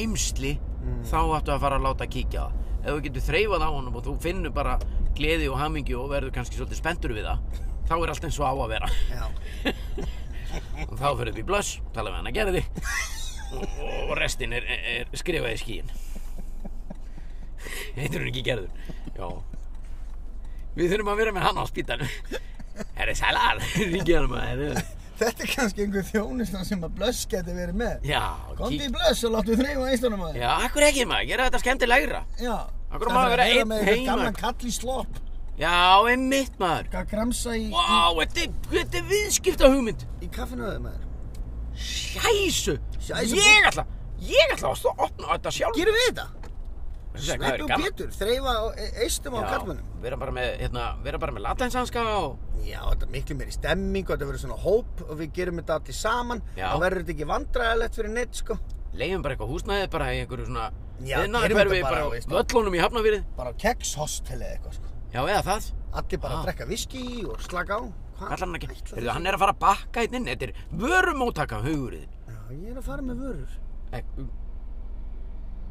S2: eimsli þá ættu að fara að láta kíkja á það ef þú getur þreifað á honum og þú finnur bara gleði og hamingju og verður kannski svolítið spenntur við það þá er allt eins og á að vera
S1: Já.
S2: og þá fyrir upp í blöss, tala við hann að gera þig og, og restin er, er, er skrifað í skíin heitir hún ekki gerður já við þurfum að vera með hann á spítanum herri sælar, ringið hann maður
S3: Þetta er kannski einhver þjónustan sem að blöss geti verið með.
S2: já,
S3: Komdu í blöss og láttu þreifa einstunum að þér.
S2: Já, akkur ekki maður, gera þetta skemmtilegra
S3: Já.
S2: Akkur maður vera einn
S3: með einhvern
S2: heima.
S3: gamlan kall í slopp.
S2: Já, einmitt maður
S3: Hvað gramsa í,
S2: Vá, þetta er, þetta er viðskipta hugmynd
S1: Í kaffinu aðeins maður.
S2: Sjæsu
S1: Sjæsu,
S2: Ég ætla, ég ætla að stó- opna þetta sjálf
S1: Gerum við þetta?
S2: Þetta er
S1: Sveppi og
S2: gaman.
S1: Pétur, þreifa á- e- eistum á
S2: Já,
S1: kallmannum.
S2: Vera bara með, hérna, vera bara með latinsanska og
S1: Já, þetta er miklu meiri stemming og þetta verður svona hóp og við gerum þetta allir saman.
S2: Já.
S1: Það verður þetta ekki vandræðilegt fyrir neitt, sko.
S2: leiðum bara eitthvað húsnæði bara í einhverju svona
S1: Já, gerum
S2: Iðnaðarhverfi
S1: þetta bara,
S2: bara,
S1: veist.
S2: bara völlunum í Hafnafyrði
S3: bara á kekshostel eða eitthvað sko.
S2: Já, eða það
S1: Allir bara
S2: Ah.
S1: að drekka viski og slaka á. Hvað
S2: Kallar hann ekki
S1: ætlar
S2: Heyrðu,
S1: þessi-
S2: hann er að fara að bakka einn inn Þetta er vörumóttaka hugurinn
S1: Já, ég er að fara með vörur.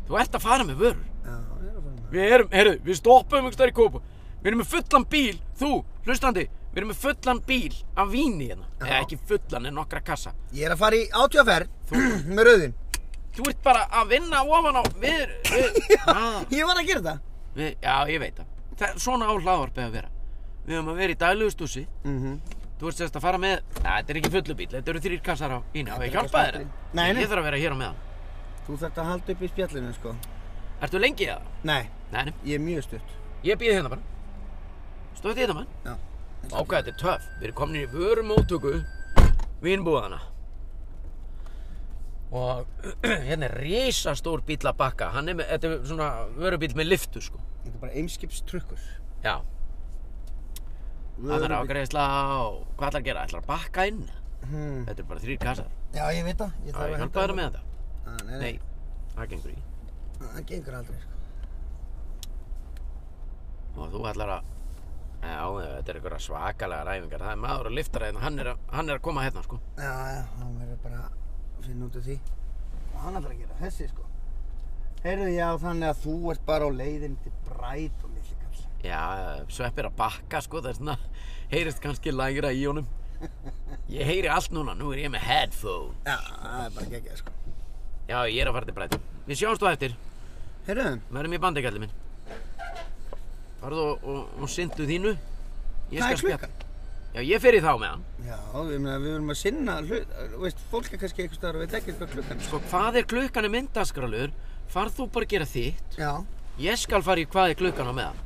S2: Þú ert að fara með vörur
S1: Já, ég er að fara með
S2: Við erum, heyrðu, við stoppum einhvers staðar í kópa Við erum með fullan bíl, þú, hlustandi Við erum með fullan bíl af víni hérna Eða ekki fullan en nokkra kassa
S1: Ég er að fara í átjáferð með rauðin.
S2: Þú ert bara að vinna ofan á Við, við, að,
S1: Ég var að gera það.
S2: við Já, ég veit það. það Svona á hlaðvarpið að vera Við höfum að vera í daglugustúsi
S1: Mm -hmm.
S2: Þú ert sérst að fara með, Næ, þetta er ekki fullu bíl Þetta eru þrýr kassar á víni Og ég hjálpa þér
S1: Nei, nei.
S2: Ég þarf að vera hér á meðan
S1: Þú þarft að halda upp í spjallinu, sko.
S2: Ertu lengi það?
S1: Nei,
S2: Nei, nei,
S1: ég er mjög stutt.
S2: ég býð hérna bara Stóð þetta mann
S1: Já.
S2: Ákvað, þetta er töff. Við erum komin í vörumóttöku vínbúðana. Og hérna er risastór bíl að bakka. Hann er með, þetta er svona vörubíl með liftu, sko.
S1: Þetta er bara eimskipstrukkur.
S2: Já. Það er ágreðisla og hvað ætlar að gera? Ætlar að bakka inn?
S1: Hmm.
S2: Þetta er bara þrýr kassar.
S3: Já, ég veit það. Ég
S2: Já,
S3: þarf
S2: ég
S3: að
S2: hjálpa þér með þetta.
S1: Ah, nei, nei,
S2: Nei, það gengur í.
S1: það gengur aldrei, sko.
S2: Og þú ætlar að... Já, þetta er einhverja svakalega ræfingar. Það er maður að lifta ræðin. Hann, er að- hann er að koma hérna, sko.
S1: Já, já, hann verður bara að finna út af því. Og hann ætlar að gera þessi, sko. Heyrðu, já, þannig að þú ert bara á leiðin til bræt og lilli kall.
S2: Já, sveppir að bakka sko, það er svona, heyrist kannski lægra í honum. Ég heyri allt núna, nú er ég með headphone.
S1: Já, það er bara geggjað, sko.
S2: Já, ég er að fara til bræti. Við sjáumst þú eftir,
S1: Heyrðu,
S2: verðum í bandikallið minn. Farðu og, og, og syndu þínu. Ég
S1: hvað
S2: skal
S1: er
S2: spjalla.
S1: klukkan?
S2: Já, ég fer í þá með hann.
S1: Já, við, meina, við verum að sinna hlut, veist, fólk er kannski eitthvað staðar og veit ekki hvað klukkan er.
S2: Sko, hvað er klukkan í myndaskralur? Farð þú bara að gera þitt.
S1: Já.
S2: Ég skal fara í hvað er klukkan á meðan.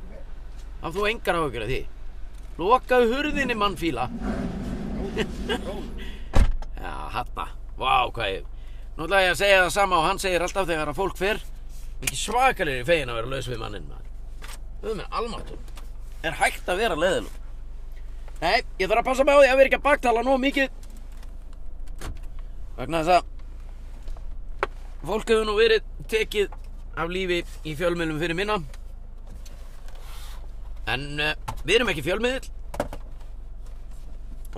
S2: Af þú engar á að gera því. Lokaðu hurðinni, mannfíla. Já, hanna. Vá, hvað ég... Nú ætla ég að segja það sama og hann segir alltaf þegar að fólk fer. Ekki svakalegri fegin að vera laus við manninn, maður. Þau minn, almáttur. Er hægt að vera leðilum. Nei, ég þarf að passa mig á því að vera ekki að baktala nóg mikið. Vegna þess að... Fólk hefur nú verið tekið af lífi í fjölmiðlum fyrir minna En uh, við erum ekki fjölmiðill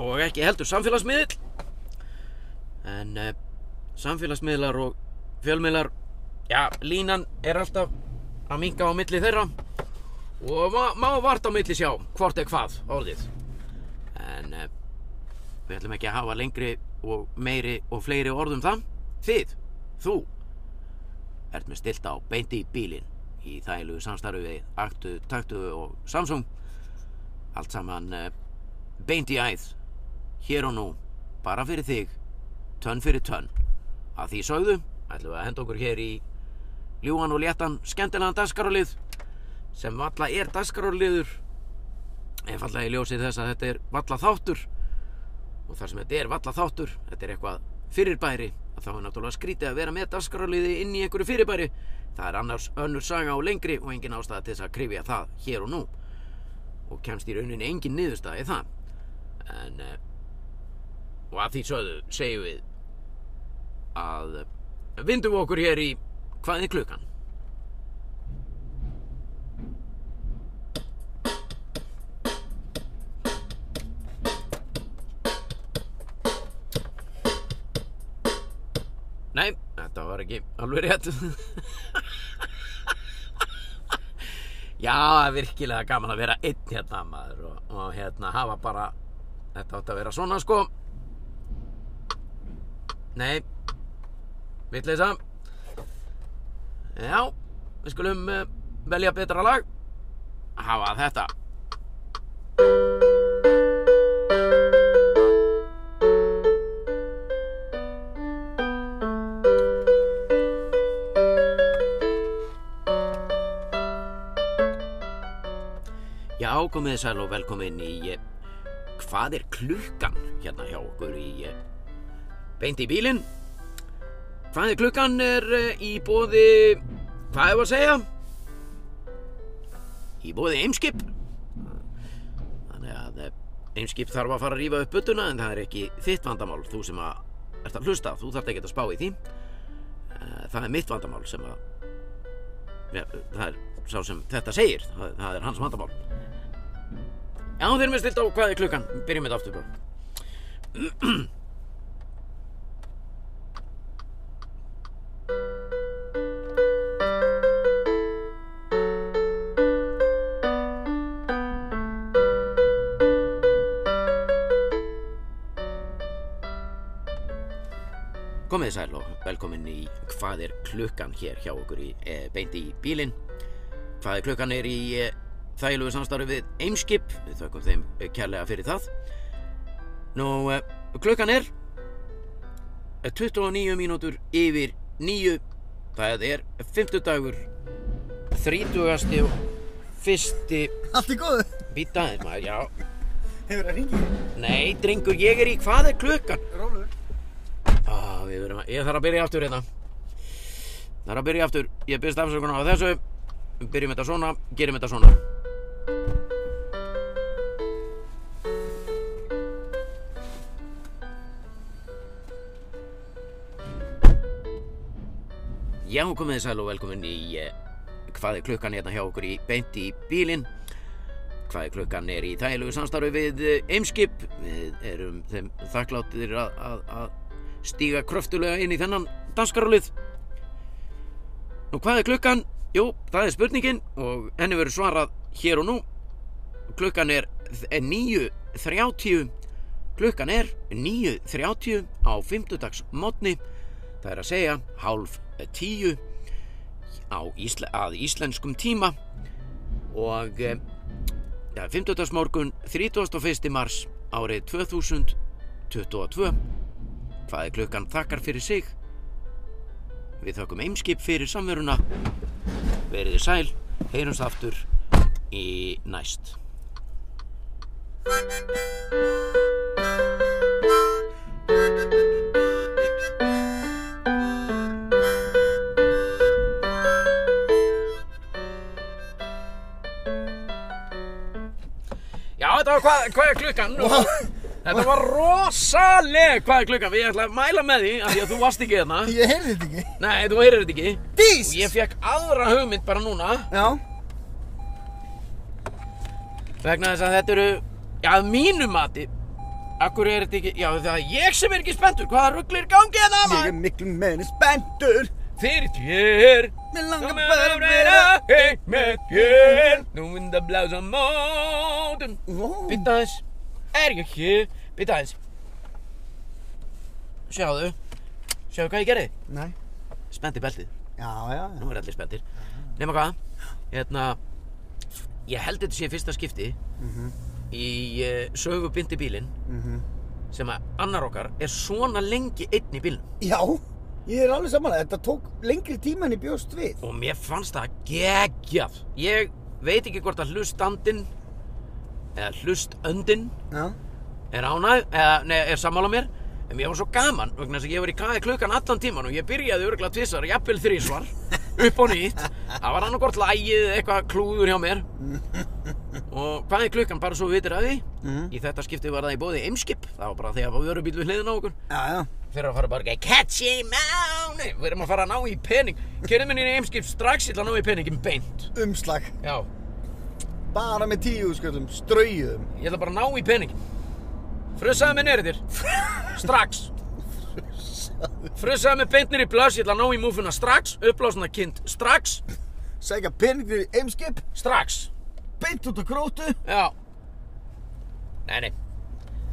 S2: og ekki heldur samfélagsmiðill. En uh, samfélagsmiðlar og fjölmiðlar, já, línan er alltaf að minga á milli þeirra og má, má vart á milli sjá hvort er hvað orðið. En uh, við ætlum ekki að hafa lengri og meiri og fleiri orðum það. Þið, þú, ert með stilt á beinti í bílinn í þælu samstarfi við Aktu, Taktu og Samsung allt saman eh, beint í æð hér og nú, bara fyrir þig tönn fyrir tönn að því sögðu, ætlum við að henda okkur hér í ljúan og léttan skemmtilegan dagskarálið sem valla er dagskaráliður einfallega í ljósið þess að þetta er valla þáttur og þar sem þetta er valla þáttur, þetta er eitthvað fyrirbæri að þá er náttúrulega skrítið að vera með dagskráliði inn í einhverju fyrirbæri það er annars önnur saga og lengri og engin ástæða til þess að krifja það hér og nú og kemst í rauninni engin niðurstaði það en eh, og að því sögðu segjum við að eh, vindum við okkur hér í hvað er klukkan Nei, þetta var ekki alveg rétt Já, það er virkilega gaman að vera einn hérna maður og, og hérna hafa bara Þetta átti að vera svona sko Nei Vitleisa Já, við skulum eh, velja betra lag Hafa þetta Já, komið þið sæl og velkomin í eh, Hvað er klukkan hérna hjá okkur í eh, Beint í bílinn Hvað er klukkan er eh, í bóði Hvað hefur að segja? Í bóði Eimskip Þannig að eh, Eimskip þarf að fara að rífa upp buttuna en það er ekki þitt vandamál þú sem að ert að hlusta, þú þarft ekki að spá í því Eh, Það er mitt vandamál sem að ja, það er sá sem þetta segir það, það er hans vandamál Já, þeir eru með stilt á hvað er klukkan? Byrjum þetta aftur bara. Komið þið sæl og velkomin í hvað er klukkan hér hjá okkur í e, beinti í bílinn. Hvað er klukkan er í e, þægilegu samstarfi við Eimskip. Við þökkum þeim eh, kærlega fyrir það. Nú, e, klukkan er eh, 29 mínútur yfir 9. Það er 50 dagur, 30. og 1.
S3: Allt í góðu.
S2: býtaðið maður, já.
S3: Hefur það ringið?
S2: Nei, drengur, ég er í hvað er klukkan?
S3: Rólur.
S2: Ah, við verum að, ég þarf að byrja aftur hérna Þarf að byrja aftur Ég byrst afsökunar á þessu Við Byrjum þetta svona, gerum þetta svona Já, komið þið sæl og velkomin í eh, Hvað er klukkan hérna hjá okkur í Beint í bílinn Hvað er klukkan er í þægilegu samstarfi við eh, Eimskip Við erum þeim þakkláttir að, að, að stíga kröftulega inn í þennan danskarólið Nú hvað er klukkan? Jú, það er spurningin og henni verður svarað hér og nú Klukkan er 9.30 Klukkan er 9.30 á fimmtudags mótni Það er að segja hálf tíu á ísle að íslenskum tíma og eh, Já, 50. morgun, 31. mars árið 2022 Hvað er klukkan þakkar fyrir sig? Við þökkum eimskip fyrir samveruna Verið þið sæl, heyrumst aftur í næst Já, þetta var hvað, hvað er klukkan? Þetta var rosaleg hvað er klukkan Við ætla að mæla með því af því að þú varst ekki hérna. þarna
S3: Ég heyrði þetta ekki.
S2: Nei, þú heyrir þetta ekki
S3: Dís!
S2: Og ég fekk aðra hugmynd bara núna
S3: Já.
S2: Vegna þess að þetta eru, já, að mínu mati, akkur er þetta ekki, já, það er ég sem er ekki spenntur, hvaða rugglir gangið það
S1: Ég er
S2: maður?
S1: miklu meðin spenntur
S2: Fyrir þér,
S1: Mér
S2: þá
S1: langar
S2: með
S1: bara
S2: að
S1: að vera
S2: vera heim með þér, nú vind að blása mótum.
S1: Ó,
S2: Býta aðeins, er ég hér, býta aðeins. Sjáðu, sjáðu hvað ég gerði?
S1: Nei
S2: Spennti beltið.
S1: Já, já, já
S2: Nú er allir spenntir. Nefna hvað? Hérna, ég held þetta sé fyrsta skipti í uh, sögu bindi bílinn
S1: Mhm.
S2: sem að annar okkar er svona lengi einn í bílinn.
S1: Já, ég er alveg samanlega Þetta tók lengri tíma en ég bjóst við
S2: Og mér fannst það geggjað. Ég veit ekki hvort að hlustandinn eða hlustöndinn
S1: Já
S2: er ánæg, eða, nei, er sammála mér en mér var svo gaman, vegna þess að ég var í kaði klukkan allan tíman og ég byrjaði örgulega tvisar, jafnvel þrísvar upp á nýtt, það var annarkort lægið eða eitthvað klúður hjá mér og hvað er klukkan, bara svo við vitir að því í þetta skipti var það í bóði Eimskip, það var bara þegar var vörubíl við hliðina á okkur
S1: Já, já
S2: fyrir að fara bara ekki, catchy mánu við erum að fara að ná í pening kerðum minni í Eimskip strax, ég ætla að ná í peningin beint
S1: Umslag
S2: já,
S1: Bara með tíu sköldum Ströyðum
S2: ég ætla bara að ná í peningin frusaði mig neyrir þér strax frusaði mig beint neyrir í blöss ég ætla að ná í múfuna strax upplásna kind strax
S1: Sækja peningur í eimskip
S2: strax
S1: Beint út á grótu
S2: já nei nei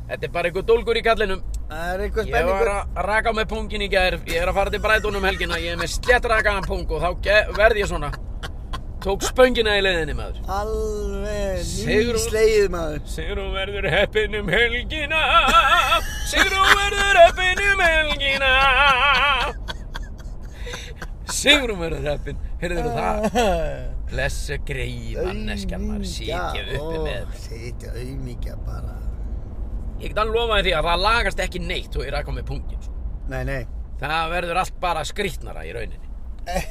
S2: þetta er bara einhver dólgur í kallinum
S1: Það er eitthvað
S2: ég var
S1: spenningur
S2: að raka á mig pungin í gær ég er að fara til brætunum helgina ég er með slett rakaðan pung og þá ge- verð ég svona tók spöngina í leiðinni maður
S1: Alveg
S2: Sigrún.
S1: nýslegið maður
S2: Sigrún verður heppin um helgina Sigrún verður heppin um helgina Sigrún verður heppin Heyrðu það Blessa greið manneskjan maður Sýkja uppi með
S1: Sýkja auðmíkja bara
S2: Ég get alveg lofaði því að það lagast ekki neitt og ég rak á með pungin sko.
S1: Nei, nei
S2: Það verður allt bara skrýtnara í rauninni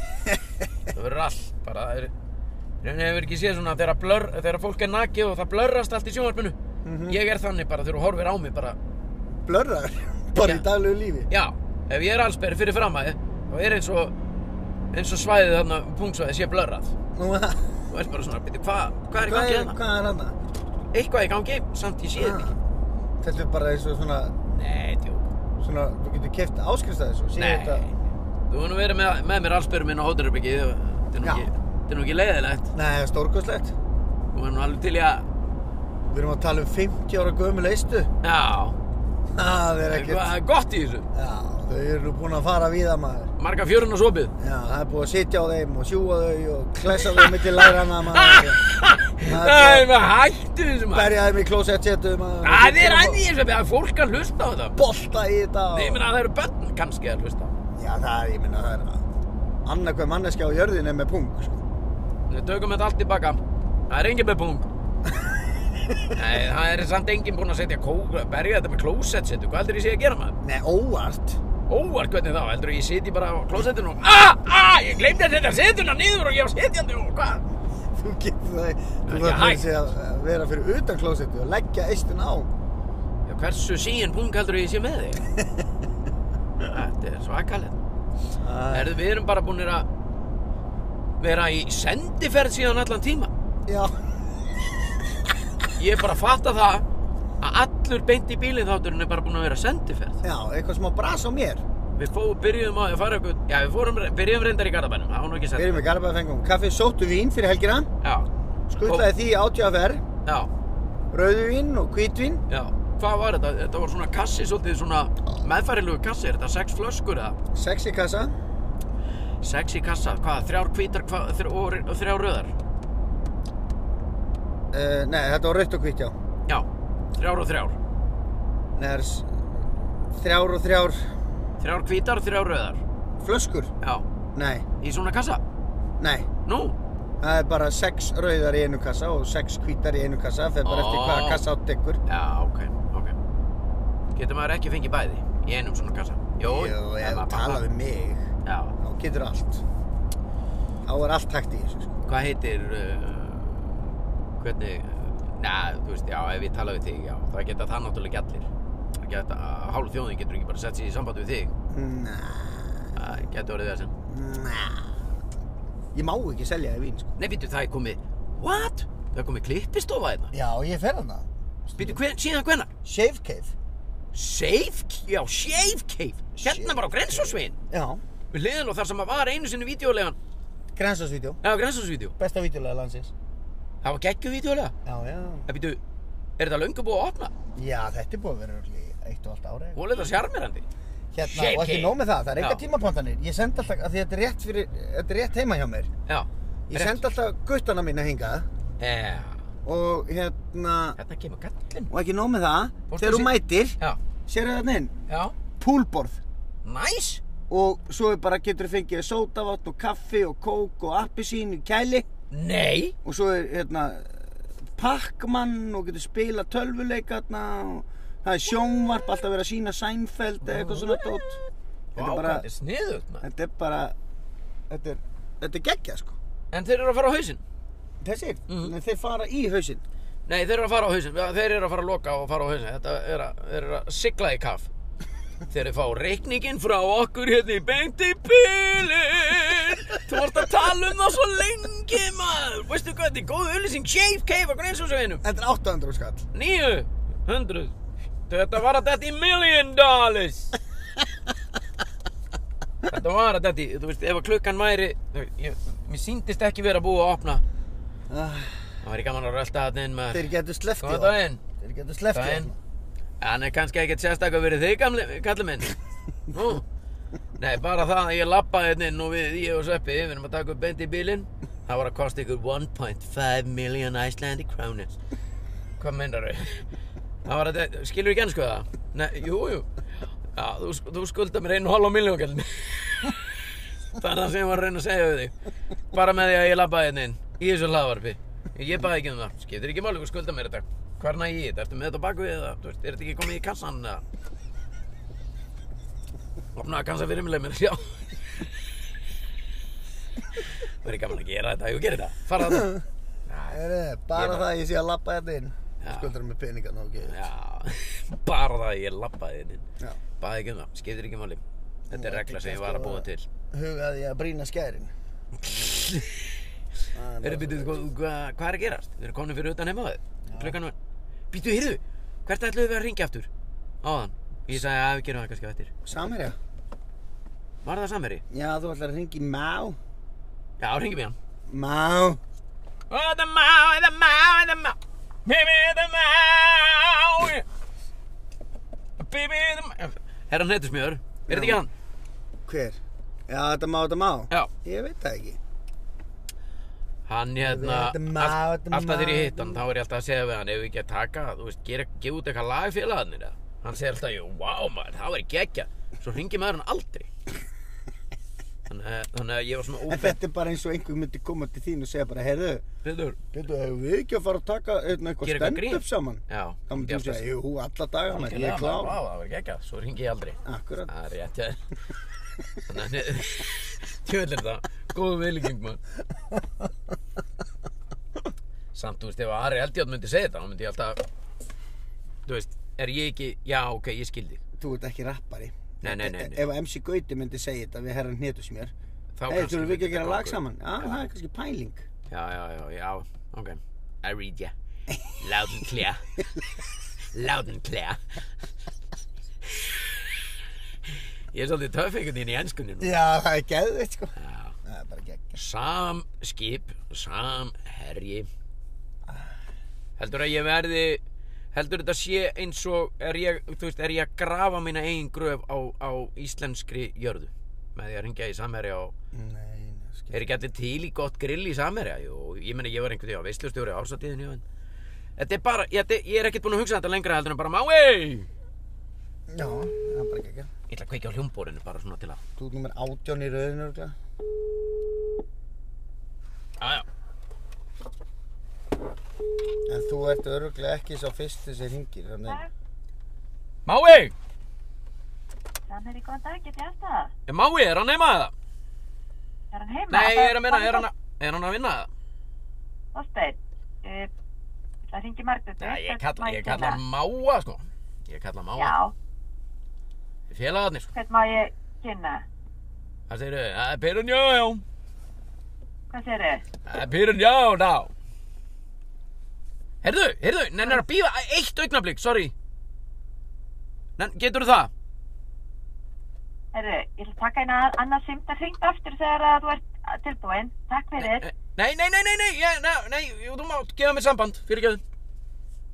S2: Það verður allt bara Það er Rauninni hefur ekki séð svona þegar, blör, þegar fólk er nakið og það blörrast allt í sjónvarpinu Ég er þannig bara þegar þú horfir á mig bara
S1: Blörrar Bara
S2: Já.
S1: í daglegu lífi
S2: Já, ef ég er allsberg fyrir fram að þið þá er eins og eins og svæðið þarna, punktsvæðið sé blörrað
S1: Nú, ha,
S2: og er bara svona, byrju, hvað hva er í
S1: Hvað
S2: gangi
S1: er,
S2: þarna?
S1: hvað Ah. er hérna? hann að?
S2: Eitthvað er í gangi, samt ég sé þetta ekki
S1: Þetta er bara eins og svona
S2: Nei, tjú,
S1: Svona, þú getur keft áskrift að þessu
S2: nei Þú hefur nú verið með, með mér allsberg minn á hótelherbergið þetta er nú
S1: Já.
S2: ekki- þetta er nú ekki leiðilegt
S1: Nei, stórkostlegt
S2: Þú er nú alveg til í að,
S1: Við erum að tala um 50 ára gömul eistu
S2: já
S1: Það er ekkert
S2: eitthvað er gott í þessu
S1: Já, þau eru nú búin að fara víða maður
S2: Marga fjörun og sopið
S1: Já, það er búið að sitja á þeim og sjúa þau og klessa þau mitt í lærana maður Það
S2: Nei,
S1: er búið
S2: maður hættu þessu
S1: að
S2: maður
S1: berja þeim í klósettsetu maður
S2: Það er aðeins þessu, það er fólk að hlusta á þetta
S1: Bolta í þetta og-
S2: Nei, ég meina það eru börn kannski að hlusta á
S1: Já, það er, ég minna, það er annað hver manneskja á jörðin er með pung sko.
S2: Við tökum þetta allt tilbaka. Það er engin með pung. Nei, það er samt enginn búinn að setja kók, berja þetta með klósett setu. Hvað heldur ég sé að gera maður?
S1: Nei, óvart
S2: Óvart hvernig þá, heldur ég sitji bara á klósettinu og aah, aah, ég gleymdi að setja setuna niður og ég var setjandi og hvað?
S1: Þú getur það, þú
S2: Það er
S1: þarf
S2: ekki
S1: að
S2: hægt.
S1: segja að vera fyrir utan klósetti og leggja eistun á
S2: Já, hversu síin pung heldur ég sé með þig? þetta er svakalegt.
S1: Eh,
S2: Erðu, við erum bara búinir að vera í sendiferð síðan allan tíma.
S1: Já,
S2: Ég er bara að fatta það að allur beint í bílinn þátturinn er bara búinn að vera sendiferð.
S1: já, eitthvað smá bras á mér
S2: Við fórum, byrjuðum á að fara ykkur, já við fórum, byrjuðum reyndar í Garðabænum, það var nú ekki sett.
S1: Við erum í Garabæðafengum Kaffi sóttu vín fyrir helgina
S2: Já,
S1: Skutlaði því átjáfer
S2: já,
S1: Rauðvín og hvítvín
S2: já. Hvað var þetta? Þetta var svona kassi, svolítið svona meðfærilegu kassi, er þetta sex flöskur eða?
S1: Sex í kassa
S2: Sex í kassa, hvað, þrjár hvítar hva, þr, og, og þrjár röðar?
S1: uh, Nei, þetta var rautt og hvít, já
S2: Já, þrjár og þrjár.
S1: Nei, það er s- þrjár og þrjár
S2: Þrjár hvítar, þrjár röðar.
S1: flöskur
S2: Já,
S1: Nei,
S2: í svona kassa.
S1: nei
S2: Nú,
S1: Það er bara sex rauðar í einu kassa og sex hvítar í einu kassa Fer bara eftir
S2: Ó.
S1: hvaða kassa átt ekkur
S2: já, ok, ok. Getur maður ekki fengið bæði í einum svona kassa? Jó,
S1: Jú, um-
S2: ef
S1: ef þú
S2: maður
S1: tala
S2: bara-
S1: við mig
S2: Já,
S1: Þá getur allt Þá er allt hægt í þessu sko.
S2: hvað heitir uh, hvernig uh, na, þú veist, já, ef ég tala við þig já, það geta það náttúrulega ekki allir það geta, uh, hálf þjóðin getur ekki bara sett sér í samband við þig
S1: Næ,
S2: það getur orðið þessum
S1: næ Ég má ekki selja þér vín sko.
S2: nei, vittu, það er komið, what? Það er komið klippistofa hérna.
S1: Já, ég fer hana.
S2: Býtu, hven, síðan hvenar?
S1: Shave Cave.
S2: Shave, já, Shave Cave. Hérna
S1: Shave
S2: bara á Grensásvegin.
S1: Já.
S2: Við hliðin á þar sem að var einu sinni vídeolegan.
S1: Grensasvídeó.
S2: Já, Grensásvídeó.
S1: Besta vídeolega landsins.
S2: Það var geggju vídeolega.
S1: Já, já.
S2: Það býtu, er þetta löngu búið að opna?
S1: Já, þetta er búið að vera örugglega í eitt og allt ára.
S2: Hún er þetta sjarmirandi.
S1: Hérna,
S2: Shave
S1: og ekki
S2: Cave.
S1: nóg með það, það er eitthvað
S2: Já.
S1: tímapantanir. Ég send alltaf, af því þetta er rétt fyrir, þetta er rétt heima hjá mér.
S2: Já.
S1: Ég send alltaf guttana mína hingað
S2: Já,
S1: og hérna,
S2: hérna kemur gallin.
S1: og ekki nóg með það,
S2: Fórstu
S1: þegar þú
S2: sí-
S1: mætir,
S2: Já,
S1: sérðu þarna inn,
S2: já.
S1: poolborð.
S2: Næs. Nice.
S1: Og svo er bara getur þú fengið sótavátt og kaffi og kók og appisín í kæli.
S2: Nei.
S1: og svo er hérna Pac-Man og getur spila tölvuleik hérna og það er sjónvarp alltaf verið að sína Seinfeld eða eitthvað svona dót þetta
S2: Vá,
S1: er
S2: hvað
S1: bara
S2: þetta er sniðugt maður.
S1: þetta er bara þetta er, þetta er geggja sko
S2: En þeir eru að fara á hausinn.
S1: þessir, mm
S2: Mhm.
S1: þeir fara í hausinn
S2: Nei, þeir eru að fara á hausinn. Já, Þeir eru að fara að loka og fara á hausinn. Þetta er að, þeir eru að sigla í kaf. Þeir eru að fá reikningin frá okkur hérna í beint í bílinn. Þú vorst að tala um það svo lengi maður. Veistu hvað, þetta er góð auðlýsing. Shave Cave okkur eins og svo einum.
S1: þetta er 800 skall
S2: Níu, hundruð. Þetta var að þetta í million dollars. Þetta var að þetta í, þú veist, ef að klukkan væri, ég, ég, mér síndist ekki vera búið að opna.
S1: Ah,
S2: Það væri gaman að rölda þetta inn maður.
S1: þeir getur sleftið
S2: Góðan daginn.
S1: þeir getur sleftið
S2: Daginn. Hann er kannski ekkert sérstaklega verið þig, gamli, kalli minn. Nú. Nei, bara það að ég lappaði hérna inn og við, ég og Sveppi, við erum að taka upp beint í bílinn. Það var að kosta ykkur 1.5 million Icelandic krónir. Hvað meinar þau? Það var að, þetta- skilur ekki ennsku það? Nei, jú, jú. Já, þú, sk- þú skulda mér einu hálf á miljón, kalli minn. Það er það sem ég var að reyna að segja við þig. Bara með því að ég labbaði hérna inn í þessu hlaðvarpi. Ég baði ekki um það. Skiptir ekki máli, hvað skulda mér þetta? Hvar næ ég í þetta? Ertu með þetta á bakvið eða? Þú veist, er þetta ekki komið í kassan eða? Opnaði kassa fyrir mig leið mér, já. Það er gaman að gera þetta, ég gerir þetta. Fara þetta.
S1: Heru, bara
S2: Ég-
S1: það að ég sé að labba þetta inn
S2: Já.
S1: skuldar með peninga ná ekki
S2: Já, bara það að ég labbaði hérna inn.
S1: Já.
S2: Baði ekki um það, skiptir ekki máli. Þetta er regla sem ég var að búa til.
S1: hugaði ég að brýna skærin Það
S2: Heyrðu, býtu, hvað sko, hva, hva er að gerast? Við erum komin fyrir utan heima á þið. Klukkan var. Býtu, heyrðu, hvert ætluðu við að ringja aftur? Áðan. Ég sagði að við gerum það kannski á eftir.
S1: Samherja?
S2: Var það samherji?
S1: Já, þú ætlar að ringi Má
S2: Já, ringjum í hann.
S1: Má
S2: Oh, the má, the má, the má. Baby, the má. Baby, the má. Herra hann heitir smjör. Er þetta ekki hann?
S1: Hver? Já, þetta má, þetta má
S2: Já.
S1: Ég veit það ekki
S2: Hann hérna,
S1: Þetta má,
S2: allt-
S1: þetta
S2: alltaf þegar ég
S1: má.
S2: hitt hann, þá er ég alltaf að segja við hann, ef við ekki að taka, þú veist, gera, gefa út eitthvað lag fyrir lagarnir eða. Hann segir alltaf, jú, vá maður, það væri geggja. Svo ringir maður hann aldrei. Þannig að- þannig að ég var svona
S1: En
S2: ófett.
S1: þetta er bara eins og einhver myndi koma til þín og segja bara Herðu,
S2: Pétur.
S1: betur, hefur við ekki að fara að taka hérna, eitthvað
S2: Gera eitthvað grín?
S1: stand-up saman?
S2: Já.
S1: Þá myndi þú segja, jú, alla daga, maður, ég er
S2: Vá,
S1: klár
S2: það væri geggja. Svo ringi ég aldrei.
S1: Akkurat
S2: Það er rétt, já. Þannig að, tjóðlega er það, góðu viðlíking maður. Samt, þú veist, ef Ari Eldjátt myndi segja þetta, þá myndi ég alltaf, þú veist, er ég ekki, já, ok, ég skildi.
S1: Þú ert ekki rappari
S2: Nei, nei, nei,
S1: E-
S2: nei.
S1: Ef MC Gauti myndi segja þetta við herran hnetus mér
S2: Þá
S1: Hei,
S2: kannski
S1: eh, þurfum við ekki
S2: myndi
S1: að gera
S2: þetta
S1: lag
S2: ganga
S1: saman?
S2: upp.
S1: Já, það er kannski pæling
S2: Já, já, já, já, ok. I read ya. Loud and clear. Loud and clear. Ég er svolítið töff einhvern veginn í ennskunni nú.
S1: Já, það er geðveitt, sko
S2: Já.
S1: Það er bara geggjast
S2: Sam skip, sam herji. Heldur að ég verði, heldur þetta sé eins og, er ég, þú veist, er ég að grafa mína eigin gröf á, á íslenskri jörðu? Með því að ringja í samherja og
S1: Nei, nei, skil
S2: Er ekki allir til í gott grill í Samherja? Jú, ég meni ég var einhvern veginn á veislustjóri ásatíðinu en... Þetta er bara, ég, þetta- ég er ekkert búinn að hugsa þetta lengra heldur en bara Mái!
S1: Já, það er bara geggjast
S2: Ég ætla að kveikja á hljómbórinu bara svona til að
S1: Þú ert nummer 18 í rauðinu örugglega.
S2: Jájá,
S1: En þú ert öruglega ekki sá fyrsti sem hringir, þannig að...
S2: Mái!
S4: Samherji, góðan dag, get ég eftir það?
S2: Er Mái, er hann heima eða?
S4: Er hann heima?
S2: Nei, ég er að minna, er hann að, er hann að vinna eða?
S4: Þorsteinn, uh, það ringi Margrét.
S2: Nei, ég
S4: Þorsteinn
S2: kalla, ég
S4: má
S2: kalla
S4: kynna.
S2: Máa sko Ég kalla Máa,
S4: Já,
S2: félagarnir sko
S4: hvern má ég kynna?
S2: Það segir þau, það er Pyrun já já
S4: Hvað segir þið?
S2: Það er Pyrun já já Heyrðu, heyrðu, nennar að býða eitt augnablík, sorry. Nenn, getur það?
S4: Herru, ég ætla að taka eina annars simta hringt aftur þegar að þú ert tilbúinn. Takk fyrir.
S2: Eh, Nei, nei, nei, nei, nei, ég, nei, nei, jú, þú mátt gefa mér samband, fyrirgjöðu.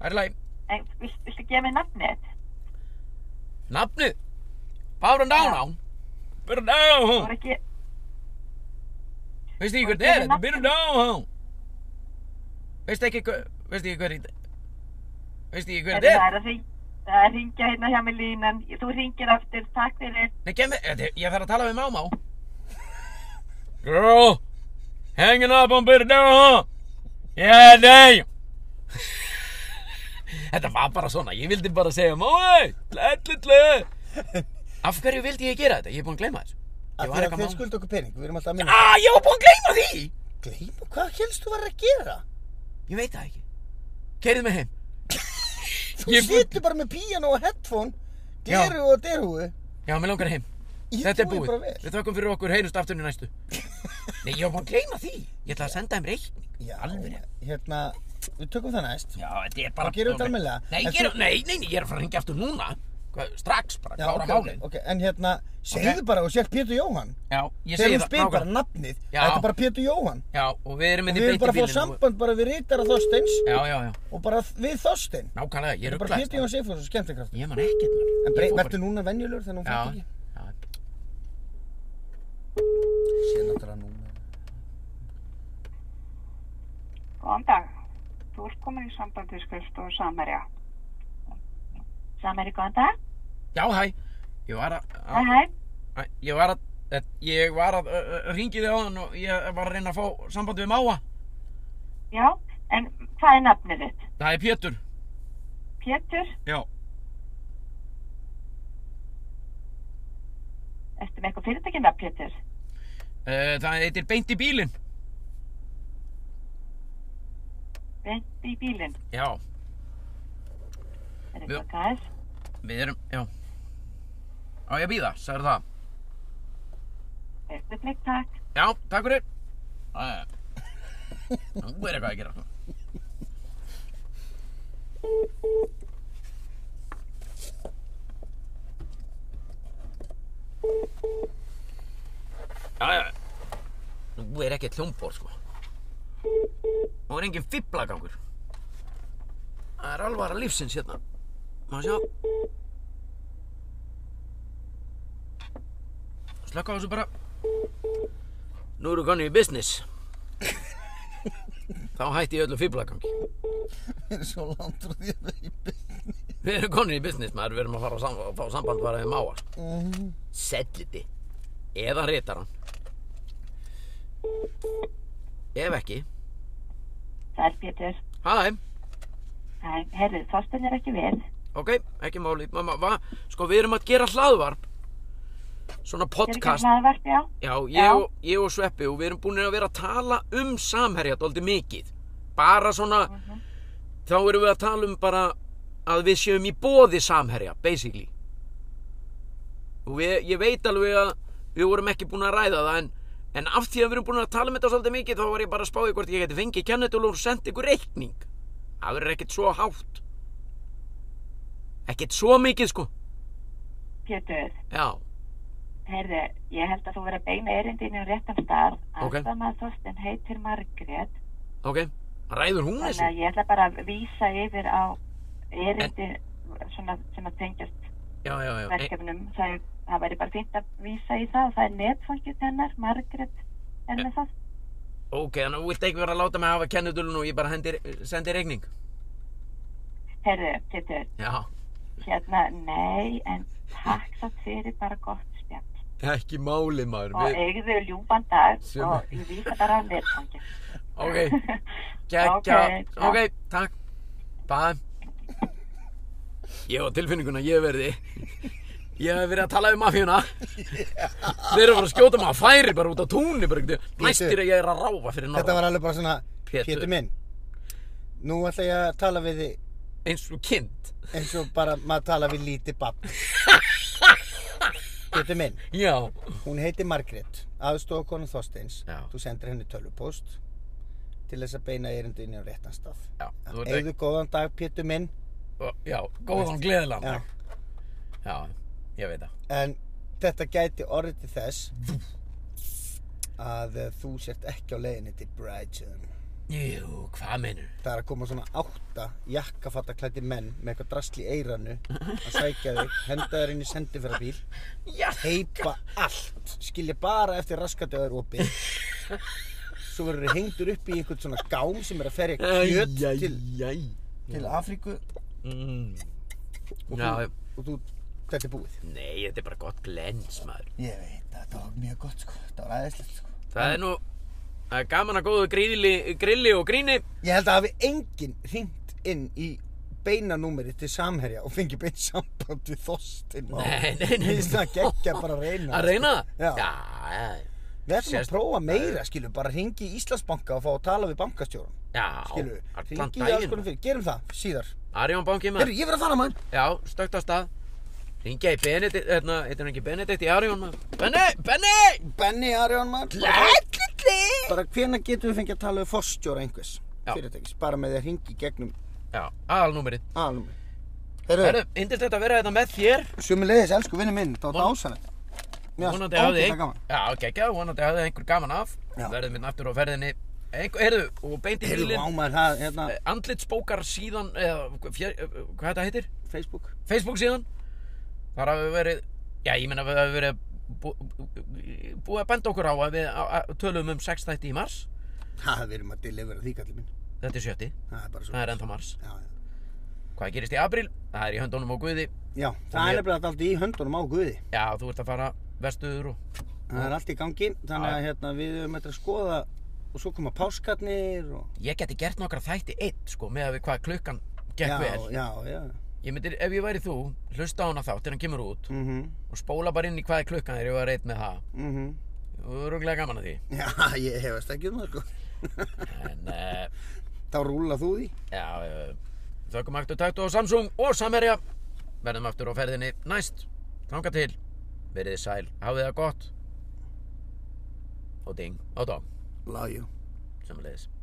S2: Það er í lagi.
S4: En vilt, viltu gefa mér nafnið?
S2: Nafnið? Bára Nánán? Bára Nánán?
S4: Voru ekki,
S2: Veistu ekki
S4: Voru
S2: hvernig er
S4: ekki
S2: þetta?
S4: nafn-
S2: Bára Nánán? Veistu ekki hver, veistu ekki hvernig þetta Veistu ekki
S4: herru,
S2: hvernig
S4: það
S2: þetta er?
S4: er að hring- það er að ringja hérna hjá mig línan. Þú ringir aftur. Takk fyrir.
S2: Nei, gef mér, ég- ég þarf að tala við mámá. Girl, hanging up on Bára Nánán. Yeah, damn. Þetta var bara svona, ég vildi bara segja, mái, tlællu, tlællu. Af hverju vildi ég gera þetta? Ég er búinn að gleyma þessu. Ég
S1: Af því að
S2: var
S1: sko-
S2: eitthvað
S1: þeir
S2: mál-
S1: skulda okkur pening, við erum alltaf að minna.
S2: Ah, ég var búinn að gleyma því!
S1: Gleima, hvað helst þú var að gera?
S2: Ég veit það ekki. Keirðu mig heim.
S1: Þú
S2: Ég-
S1: situr bara með píano og headphone,
S2: Já.
S1: gleru og derhúi.
S2: Já, mér langar heim.
S1: Ég
S2: Þetta er
S1: trúi
S2: búið.
S1: bara vel.
S2: Við þökkum fyrir okkur, heyrjumst aftur í næstu. Nei, ég var búinn að gleyma því. Ég ætla að senda þeim reikning.
S1: Já,
S2: Alveg.
S1: Hérna, við tökum það næst.
S2: Já, þetta er bara...
S1: Og gerum þetta almennilega.
S2: Nei,
S1: En
S2: ég er, nei, nei, nei, ég er að fara að ringja aftur núna. Hva, strax, bara,
S1: Já,
S2: klára
S1: ok,
S2: málið.
S1: ok, en hérna, segðu
S2: Ok.
S1: bara og sér Pétur Jóhann.
S2: Já, ég
S1: Þegar
S2: segi
S1: hún
S2: það.
S1: spyr bara
S2: nákvæmlega.
S1: nafnið,
S2: Já.
S1: þetta er bara Pétur Jóhann.
S2: Já, og við erum
S1: Og
S2: inn í
S1: við erum
S2: beinti
S1: bara að
S2: bílinu.
S1: fá samband bara við rítara Þorsteins
S2: Já, já, já.
S1: og bara við Þorstein.
S2: Nákvæmlega, ég
S1: Það er bara Pétur Jóhann
S2: rugglaðist.
S1: Sigfússon, skemmtikraftur.
S2: Ég man ekkert, maður.
S1: En
S2: Ég
S1: brey-
S2: fór bara-
S1: vertu núna venjulegur þegar hún fætt
S2: Já,
S1: ekki.
S2: já.
S1: Sér náttúrulega núna.
S5: Góðan dag. Þú ert komin í sambandi skrifstofu Samerja.
S4: Samari, góðan dag.
S2: Já, hæ. Ég var að...
S4: Hæ, hæ.
S2: Æ, Ég var að, eh, ég var að uh, uh, ringi þig á hann og ég var að reyna að fá sambandi við máa.
S4: Já, en hvað er nafnið þitt?
S2: Það er Pétur.
S4: Pétur,
S2: Já.
S4: ertu með eitthvað fyrirtækina, Pétur?
S2: Eh, það heitir beint í bílinn.
S4: Vent í bílinn.
S2: Já.
S4: Er
S2: Já.
S4: eitthvað gæs?
S2: Við erum, já. Á ég að býða, sagður það.
S4: Veistu blikk, takk.
S2: Já, takk fyrir. Æ, Nú er eitthvað að gera. Já, já. Nú er ekki hljómbor, sko. Nú er engin fiblagangur. Það er alvara lífsins hérna. Má sjá. Slökka á þessu bara. Nú eru konni í business. Þá hætti ég öllu fýblagangi.
S1: Svo langt frá því að það er
S2: Við erum konni í business, maður. Við erum að fara að, sam að fá samband bara við máa. Mm. Selliti. Eða reytar hann. Ef ekki.
S4: Sæl, Pétur.
S2: Hæ,
S4: Hæ, herru, Þorstein er ekki við.
S2: ok, ekki máli. Mamma, va? Sko, við erum að gera hlaðvarp. Svona
S4: Er ekki
S2: podcast.
S4: hlaðvarp, já?
S2: Já, ég
S4: Já.
S2: og, ég og Sveppi og við erum búin að vera að tala um samherja dóldi mikið. Bara svona, þá erum við að tala um bara að við séum í bóði samherja, basically. Og við, ég veit alveg að við vorum ekki búin að ræða það en, en af því að við erum búin að tala um þetta svolítið mikið þá var ég bara að spáði hvort ég geti fengið kennetul og senda ykkur reikning. Það verður ekkert svo hátt. Ekkert svo mikið sko.
S4: Pétur,
S2: Já,
S4: herru, ég held að þú verið að beina erindinu á réttan stað.
S2: Ok.
S4: Aðstamaður Þorstein heitir Margrét.
S2: ok. Ræður hún
S4: Þannig
S2: þessu?
S4: að ég ætla bara að vísa yfir á erindi svona, sem að tengjast
S2: Já, já, já. E,
S4: verkefnum. Það, er- það væri bara fínt að vísa í það. Það er netfangið hennar, Margrét er með það.
S2: Ok, þannig að þú vilt ekki vera að láta mig hafa kennudulun og ég bara hendir, sendi reikning.
S4: Herru, Pétur,
S2: Já.
S4: hérna, nei, en takk satt fyrir bara gott spjall.
S2: Ekki máli maður.
S4: Og eigðu ljúfan dag
S2: Sem-
S4: og ég vísa bara á netfangið.
S2: Ok, gekkja.
S4: Ok, já.
S2: Ok, takk. Bæ. Ég var tilfinninguna, ég verði. Ég hef verið að tala um mafíuna. Þeir eru að fara að skjóta maður færi bara út á túnni. bara einhvern veginn. Næstir að ég er að ráfa fyrir
S1: Þetta
S2: norðan.
S1: var alveg bara svona,
S2: Pétur.
S1: Pétur minn, nú ætla ég að tala við þig
S2: Eins og kind.
S1: eins og bara maður tala við lítið babb. Pétur minn,
S2: Já.
S1: hún heitir Margrét, aðstofakonu Þorsteins.
S2: Já.
S1: Þú sendir henni tölvupóst til þess að beina erindu inn á réttan stað.
S2: Já, þú ert
S1: Eigðu góðan dag, Pétur minn,
S2: Og- Já, góðan gleðilega
S1: Já.
S2: dag. Já, ég veit það.
S1: en þetta gæti orðið til þess að eh, þú sért ekki á leiðinni til Brighton.
S2: Jú, hvað meinur?
S1: Það er að koma svona átta jakkafattaklætti menn með eitthvað drasl í eiranu að sækja þig, henda þér inn í sendiferðarbíl,
S2: Já,
S1: heipa allt, skilja bara eftir raskatöður opið. Svo verður þið hengdur upp í einhvern svona gám sem er að ferja kjöt til,
S2: Æ,
S1: til Afríku
S2: Mm.
S1: og,
S2: Já,
S1: þú,
S2: já.
S1: og þú, þetta er búið.
S2: Nei, þetta er bara gott glens, maður.
S1: Ég veit, þetta var mjög gott sko, þetta var aðeinslegt sko.
S2: Það er nú það er gaman að góðu gríli, grilli og gríni.
S1: Ég held að hafi enginn hringt inn í beina númeri til samherja og fengi beint samband við Þorstein Má.
S2: Nei, nei, nei, nei.
S1: Mér finnst það geggja bara að reyna.
S2: Að reyna það?
S1: Já.
S2: Já, já,
S1: Við ætlum
S2: Sérst-
S1: að prófa meira, skilur, bara hringi í Íslandsbanka og fá að tala við bankastjóran,
S2: já.
S1: skilur.
S2: Allan
S1: Hringi í alls konar
S2: daginn.
S1: fyrir, gerum það síðar.
S2: Arjón banki maður.
S1: Herru, ég verð að fara maður.
S2: Já, stökt á stað. Ringja í Benedikt, hérna, heitir hann ekki Benedikt í Arjón maður. Benni, Benni!
S1: Benni Arjón maður.
S2: Lætlitli!
S1: Bara hvena getum við fengið að tala við Þorstjóra einhvers?
S2: Já.
S1: Fyrirtækis, bara með því að hringi í gegnum
S2: Já, aðalnúmerið.
S1: alum. Herru,
S2: Herru, yndist þetta að vera þetta með þér.
S1: sömulegis, elsku vinnu minn, þá
S2: Von-
S1: dásanett. Mér
S2: vonandi hafði
S1: ógeðslega
S2: ein... já, geggja, vonandi hafði einhver gaman af
S1: Já.
S2: verðum minn aftur á ferðinni einhver, heyrðu, og beint í
S1: Heyrðu,
S2: bílinn
S1: ámæður, það, hérna,
S2: Eh, andlitsbókar síðan eða, fjör, eh, hvað þetta heitir?
S1: Facebook.
S2: Facebook síðan þar hafi verið, já, ég meina við hafi verið bú- bú- búið að benda okkur á að við að- að tölum um 6 þætti í mars
S1: Ha, við erum að delivera því, kallið minn.
S2: þetta er sjötti,
S1: Það er bara svo.
S2: það er ennþá mars
S1: Já, já.
S2: hvað gerist í apríl, það er í höndunum á Guði
S1: Já, það
S2: mér-
S1: er nefnilega allt í höndunum á Guði.
S2: já, þú ert að fara vestuður og
S1: Það er allt í gangi, þannig
S2: Já.
S1: að hérna, við höfum eitthvað að skoða og svo koma páskarnir og...
S2: ég geti gert nokkra þætti einn sko, með að við hvað klukkan gekk
S1: já,
S2: vel
S1: Já, já,
S2: Ég myndir, ef ég væri þú, hlusta á hana þá til hann kemur út
S1: Mhm,
S2: og spóla bara inn í hvað er klukkan þegar ég var reitt með það.
S1: mhm.
S2: Þú er rúglega gaman að því.
S1: Já, ég hefast ekki um það, sko.
S2: En, uh,
S1: Þá rúla þú því.
S2: já, uh, þökkum aktu taktu á Samsung og Samherja. Verðum aftur á ferðinni næst. Þanga til. Verið þið sæl. Hafið það gott. Og ding og dong.
S1: Love you.
S2: Samanleðis.